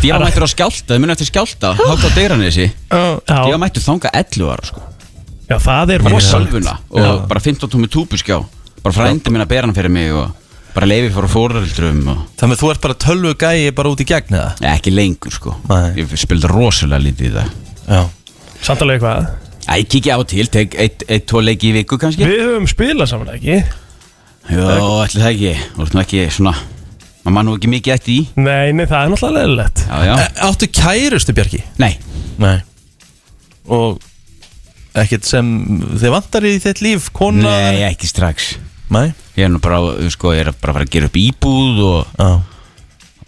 ég var mættur á skjálta, þau munið eftir skjálta hátt á deyranissi, ég var mættur þanga 11 ára sko,
Já, það er
bara með
rosalegt.
sölvuna
Já.
og bara 15 tómi túpuskjá bara frændi minna ber hann fyrir mig og bara leifi fyrir fóröldrum og
Þannig að þú ert bara tölvu gæi bara út í gegn eða?
Nei, ekki lengur sko Nei. Ég spildi rosalega lítið í það
Já
Samt alveg hvað?
Já, ég kikið á og til, tek eitt, eitt, tvo leiki í viku kannski
Við höfum spilað saman ekki
Jó, ætli það ekki Þú ert nú ekki svona Maður mann nú ekki mikið eftir í
Nei, nei, það er náttúrulega leðilegt
Já, já
Á- Áttu kærustu Bjarki?
Nei
Nei Og ekkert sem þið vantar í þitt líf, kona
Nei, ekki strax
Nei
Ég er nú bara, á- sko, ég er bara að fara að gera upp íbúð og
Já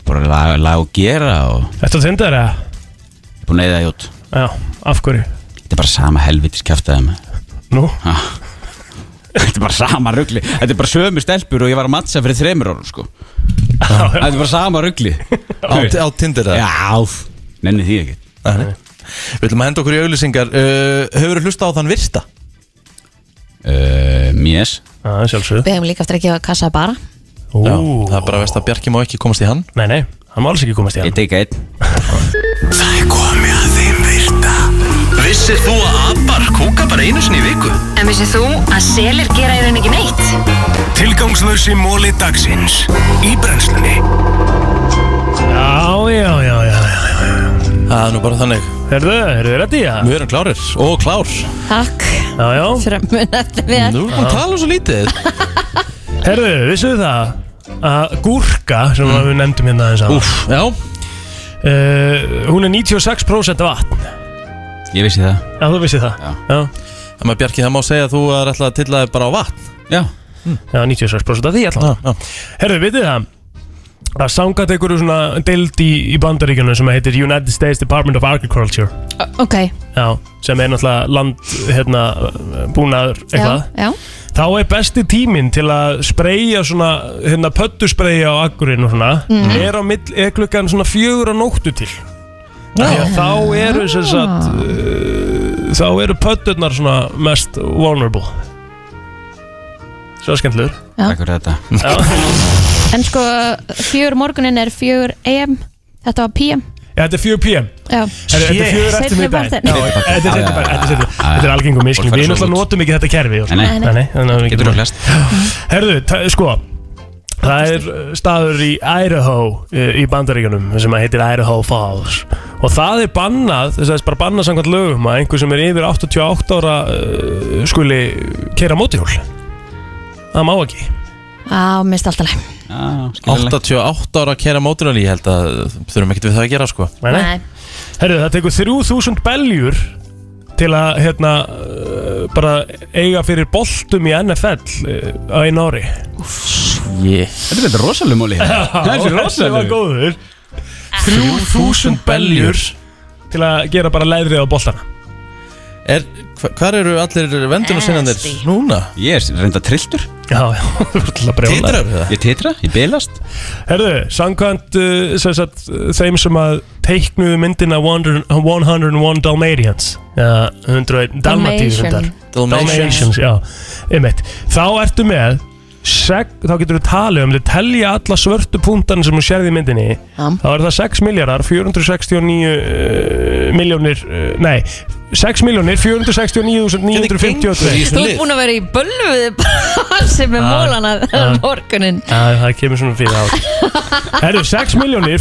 Bara lag, lag og gera og
Ertu að tinda þér eða?
Ég er búin að neyða það jút
Já, af hverju?
Þetta er bara sama helvitis kjaftaði með
Nú?
Þetta er bara sama ruggli Þetta er bara sömu stelpur og ég var að mattsa fyrir þremur árum, sko Þetta er bara sama ruggli
Á, á Tinder eða?
Já, nenni því ekki
Við ætlum að henda okkur í auglýsingar uh, Hefur þú hlusta á þann virta?
Uh, yes
Já, sjálfsög
Við hefum líka eftir að gefa kassa bara
Já, það er bara veist að Bjarki má ekki komast í hann
Nei, nei, hann má alls ekki komast í hann
Ég teika einn
Það er komið að þeim virta Vissir þú að abar kúka bara einu sinni í viku?
En vissið þú að selir gera í raun ekki neitt?
Tilgangslösi móli dagsins Í brennslunni
Já, já, já, já, já, já.
Það er nú bara þannig
Herðu, eru þið reddi? Ja?
Við erum klárir og klár
Takk
Já, já
Fyrir að muna eftir mér
Nú erum við að tala svo lítið
Herðu, vissuðu það að gúrka sem við nefndum hérna aðeins að
Mm. Úff, já
Hún er 96% vatn
Ég vissi það
Já, þú vissið það
Já.
Það með Bjarki það má segja að þú er alltaf að tilla þig bara á vatn
Já
Hm. Já, 96% af því allan Herðu, vitið þið það að sangat einhverju svona deild í, í bandaríkjunum sem heitir United States Department of Agriculture
Ok,
Já, sem er náttúrulega land hérna, búnaður eitthvað
já
Þá er besti tíminn til að spreyja svona, hérna, pöttuspreyja á akkurinn og svona,
Mm.
er á mill, er klukkan svona fjögur á nóttu til. Af Því að
Ah.
þá eru sem sagt, uh, þá eru pötturnar svona mest vulnerable. Svo skemmtilegur.
Já.
Takk fyrir þetta
En sko, fjögur morgunin er fjögur AM Þetta var PM
Já, þetta er 4 p.m.
Já
Þetta er fjögur eftir mig dag.
Seinni partinn.
Þetta er seinni partinn, þetta er seinni partinn. Þetta er algengum miskling. Við náttúrulega notum ekki þetta kerfi. og svona.
Nei, nei.
nei, þannig að við
Getur þú flest
Herðu, ta- sko Það er uh, staður í Idaho uh, í bandaríkjunum sem að heitir Idaho Falls og það er bannað, þess að þess bara bannað samkvæmt lögum að einhver sem er yfir 88 ára uh, skuli keira mótihjól Það má ekki
Á, mist alltaf leið
88 ára að kera móturali Ég held að þurfum ekkert við það að gera sko
Nei, nei. Herðu, það tekur 3000 beljur til að hérna uh, bara eiga fyrir boltum í NFL uh, á einu ári
yeah.
Þetta er þetta rosalega móli Þetta er
Þessi var
rosalega
góður 3000 beljur Til að gera bara leðrið á boltana
er, hva- Hvar eru allir vendunarsinnandir núna?
Ég er reynda trilltur
Já, já, þú ert alltaf brjóla
Titrarðu það?
Ég titra, ég bilast Herðu, samkvæmt uh, sem sagt, uh, þeim sem að teiknuðu myndina 100 101 Dalmatians Já, 101 Dalmatíus
Dalmatian.
Dalmatians, já, einmitt Þá ertu með seg, þá getur þú talið um þau telja alla svörtu punktana sem þú sérði í myndinni þá er það 6 miljardar 469 uh, miljónir, uh, nei 6 miljónir 469.958
Þú ert búin að vera í bölvuði bara sem er
Ah,
mólana
ah.
morgunin
Já, það kemur svona fyrir át Herru, 6 miljónir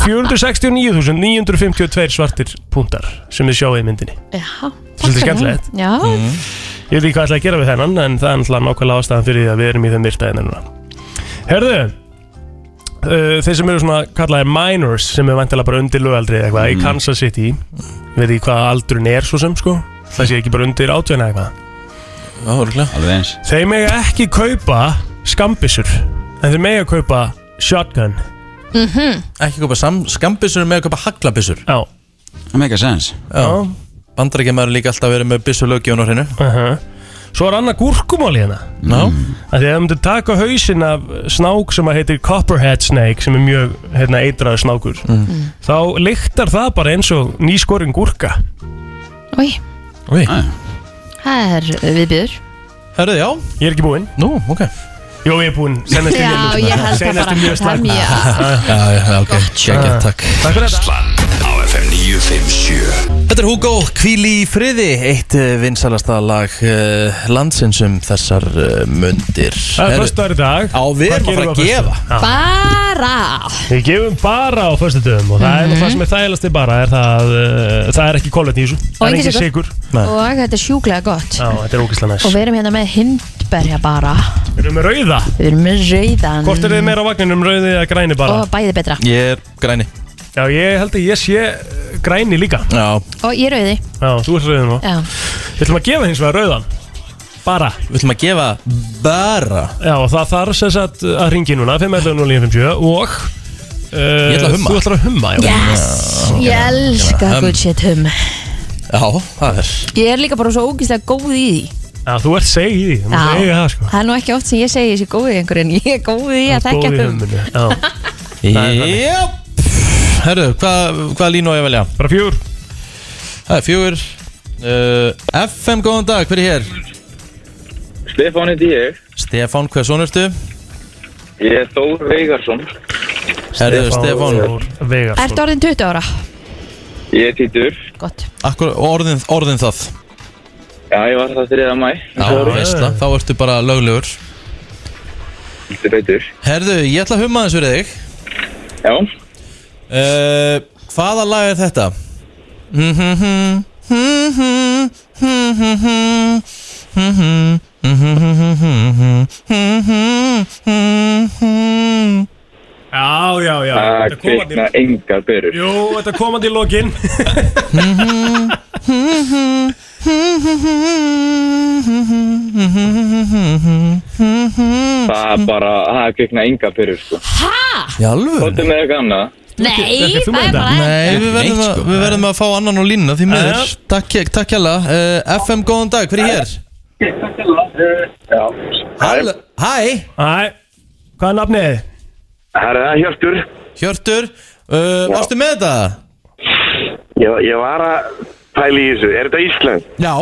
469.952 svartir púntar sem þið sjáu í myndinni
Já,
Svolítið skemmtilegt. Mhm.
Já,
Ég veit ekki hvað ætla að gera við þennan en það er náttúrulega nákvæmlega ástæðan fyrir því að við erum í þeim virtaðinu núna Herðu uh, Þeir sem eru svona kallaðir minors sem er vantilega bara undir lögaldri eða eitthvað í Kansas City Ég veit ekki hvað aldurinn er svo sem sko Það sé ekki bara undir átveina eitthvað
Já, örgulega
Alveg eins
Þeir mega ekki kaupa skambissur En þeir mega kaupa shotgun
Mhm.
Ekki kaupa sam- skambissur með að kaupa haglabissur
Já
Það make a sense
Já Bandarækjamaður líka alltaf verið með bissu lögjónu á hreinu
-huh. Svo er annað gúrkumál í hérna
Já
Af Því að það myndir taka hausinn af snák sem að heitir Copperhead Snake sem er mjög hérna, eitraður snákur
Mm.
þá lyktar það bara eins og nýskorinn gúrka
Oj,
Oi.
Ah. það er viðbjöður
Herðu, já
Ég er ekki búinn
Nú, ok
Jó, ég er búinn Seinast í
Já,
mínútu.
ég held það
Seinast
bara.
í mjög
Það er
slæmt.
mjög-
Já, já, ok, tjekkja, takk
Ah, Takk fyrir
Brennslan á FM 957
Þetta er Hugo, Kvíl í friði, eitt eh, vinsalasta lag
eh,
uh, landsins um þessar uh, mundir
Það er föstudagur í dag
Á, við erum að fara að gefa
Ah.
Bara
Við gefum bara á föstudöfum og það er nú það sem er þægilegast bara er það, uh, það er ekki kolvetni í þessu
Mm. Og
Það er
ekki
ekki
sykur.
sigur
og þetta er sjúklega gott
Já, þetta er ógislega næst
og við erum hérna með hindberja bara
Við erum með rauða
við erum með rauðan
Hvort er þið meira á vagninum, rauði eða græni bara?
og bæði betra
Ég er græni
Já, ég held að ég sé eh, græni líka
Já,
og ég er rauði
Já þú ert rauðin og
Já.
Við ætlum að gefa hins vegar rauðan Bara
Við ætlum að gefa bara
Já, og það þarf sem sagt að ringi núna 5.11.09.50 og uh,
Ég ætla að humma.
Þú ætlar að humma, já
Yes, ég elska
Um.
good shit hum
Já, það er
ég er líka bara svo ógíslega góð í því
Já, þú ert segið í því, þú
Já.
segið það sko
það er nú ekki oft sem ég segi þessi góð í einhverju en ég er góð í að
Góð
þekka
í
hum
humminu, já
Jáp Herru, hvað hva línu á ég að velja?
Bara fjúr
Það er fjúr uh, FM, góðan dag, hver er hér?
Stefán heiti ég,
Stefán, hver svona ertu?
ég er Þór Veigarsson,
Herru, Stefán
sko.
Ertu orðin 20 ára?
ég er títur,
Gott
Akkur, orðin, orðin það
já ég var það 3. mæ,
Já, veistla, þá ertu bara löglegur
Þetta beitur
Herðu, ég ætla að humma þessu fyrir þig Uh,
Já
Hvaða lag er þetta?
Já, já, já
Það
Þetta kom þarna í-
kveikna engar byrjur
Jú, þetta komandi í lokin
Það er bara, það kveikna engar byrjur sko
Í alvöru?
Hvort með eitthvað annað
Nei,
Þetta er
það
þú
er
með
bara
þetta?
Nei, við verðum,
Neitt,
að,
sko.
við verðum að fá annan á línuna því miður
Jæja.
Takk, takk hella uh, FM, góðan dag, hver er hér?
Já
Hall- Hæ
Hæ Hvað er nafnið?
Herra, Hjörtur
Hjörtur, uh, varstu með þetta?
Ég, ég var að pæla í þessu. Er þetta Ísland?
Já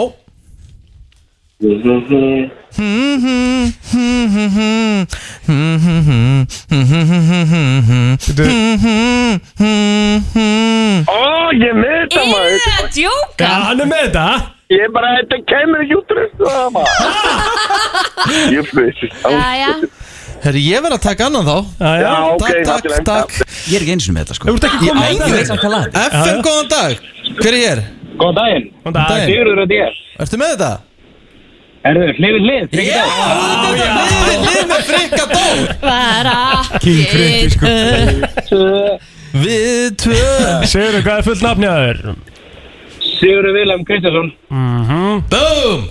Ó, ég er með þetta maður. Ég er að
djóka.
Já, hann er með þetta.
Ég er bara, þetta kemur ekki út úr þessu það maður. Ég veist.
Jæja.
Herri, ég verð að taka annan þá
Já,
já. ok,
Takk,
náttúrulega.
takk, takk
Ég er ekki eins og með þetta sko
Þú ert ekki kominn með þetta. FM, góðan dag, hver er hér?
Góðan daginn
Góðan
daginn.
Sigurður og Díaz
Ertu með þetta?
Erður, hlifið hlið,
hlifið hlið Hlið með frikka dór
Bara
King Frikki, sko.
Við tvö
Sigurður, hvað er fullt nafnið að þér?
Sigurður Vilhelm Kristjánsson
Mhm.
Búm!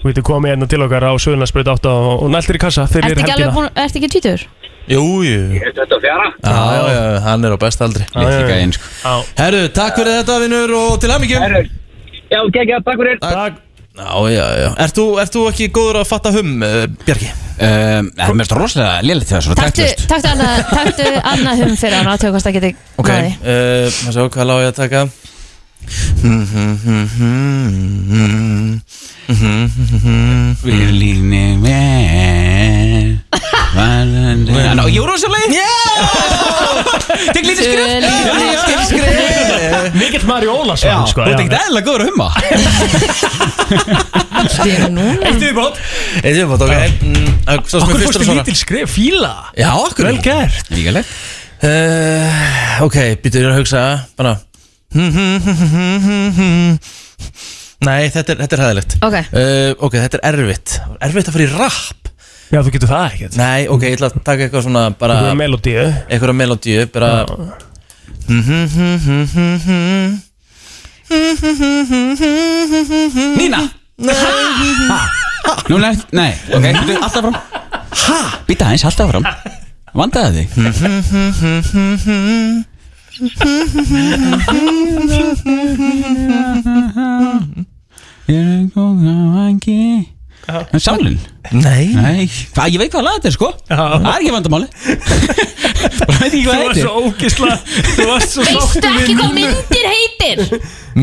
Þú veitir komið hérna til okkar á Suðurlandsbröð 8 og, og næltir í kassa fyrir
Ertu ekki alveg
helgina
búin, ertu ekki tvítur?
Jú, jú
Þetta er fjara
Já, já, já, hann er á besta aldri
Litli gæinn,
sko Herru, takk fyrir þetta vinnur og til aðmyggjum
Já, geggja, takk fyrir
Takk Já, já, já Ert þú, ert þú ekki góður að fatta hum, uh, Bjarki?
um, Það er mest rosalega lélitt þegar svo
Taktu,
taktlust
taktu annað, Hérna, taktu annað hum fyrir hann og aðtöku hvort það geti
Ok, uh, maður sjá hvað lág ég að taka
Við lífni með Ná, Eurovision-leið Tek lítið skrif Lítið skrif
Mikill Mari Ólason
Þú
sko,
ert
já.
ekkert eðla góður að humma
Eitt viðbót Eitt viðbót, ok Mm, uh, Sá
Akkur
sem er fyrst
fórstu
að svara
lítil skrif, fíla
Já, okkur
Vel gert
Líkalegt
uh, Ok, býtur ég að hugsa Bara Hmm, Nei, þetta er, þetta er hæðilegt
Ok.
uh, Ok, þetta er erfitt Erfitt að fara í rap
Já, þú getur það ekkert
Nei, ok, ég ætla að taka eitthvað svona bara
Einhverja melódíu.
Eitthvað melodíu, bara
Nína Nú nefnt, nei, ok, býttu, alltaf fram Ha? Býta aðeins, alltaf fram Vandaði þig Ég er góð á vangi En sálinn?
Nei
Nei, hvað, ég veit hvað laga þetta er sko Það er ekki vandamáli Bara veit ekki hvað
Þú varst
heitir
svo ógisla Þú varst svo
Veistu
sáttu
ekki
við
hvað myndir heitir?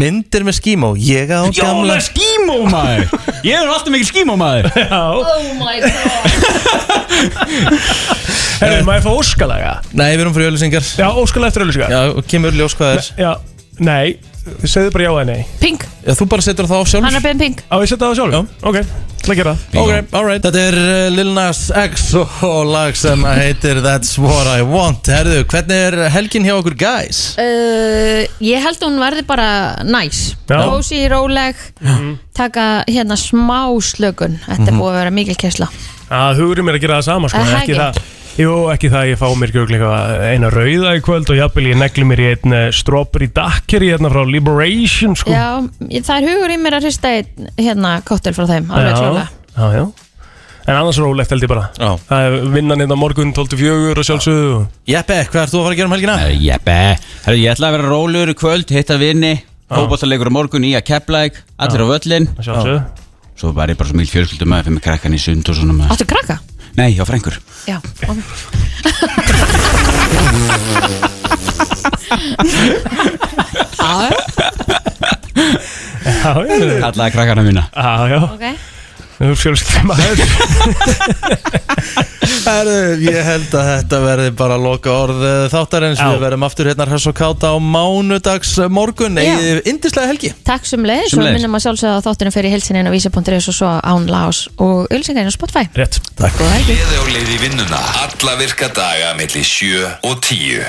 Myndir með skímó Ég á
Já, það
gamla
er skímó maður Ég er alltaf mikil skímó maður
Oh my god
Herru, maður fá óskalaga
Nei, við erum fyrir öllusingar
Já, óskalag eftir öllusingar
Já, og kemur ljós hvað það er
Já, nei Segðu bara já eða nei
Pink,
Já, þú bara setur það á sjálf
hann er beðin pink
Á, ég setja það sjálf Já Ok, til að gera það
Ok, alright Þetta er uh, Lil Nas X og lag sem að heitir That's What I Want Herðu, hvernig er helgin hjá okkur guys?
uh, Ég held hún verði bara næs
Já.
Kósi, róleg Taka hérna smá slökun Þetta er
Mhm.
búið að vera mikil kessla
Að hugurinn er að gera það sama sko
Er það
Ekki
ekki?
það Jú, ekki það að ég fá mér gjögleika eina rauða í kvöld og jafnvel ég negli mér í einn eh, strawberry daiquiri hérna frá Liberation sko
Já, ég- það er hugur í mér að hrista einn, hérna kóttel frá þeim Alveg klálega
já, já. En annars rólegt held ég bara
já.
Það er vinnan hérna á morgun 12.4 og sjálfsögðu
Jeppe, hvað ert þú að fara að gera um helgina?
Jeppe, herru, ég ætla að vera rólegur í kvöld, hitta vini Hópaðarleikur á morgun í að keplæk Allir á völlin
sjálfsögðu.
Svo var ég bara svo mjög fjölskyldum maður fyrir mig krakkan í sund og svona maður
Áttu krakka?
Nei, já, frængur
Já ok.
Alla krakkana mína
Já, já
Ok
Þú fjölskyldum maður
Herðu, ég held að þetta verði bara loka orð uh, þáttarins
Já.
Við verðum aftur hérna hress og káta á mánudags morgun Nei, indislega helgi
Takk sem leiðis og
Sömuleiðis.
minnum að sjálfsögða þáttunum fyrir hilsininn á vísa.is og svo án lás og ölsingarinn á Spotify
Rétt
Takk
Gleði á leið í vinnuna Alla virka daga melli 7 og 10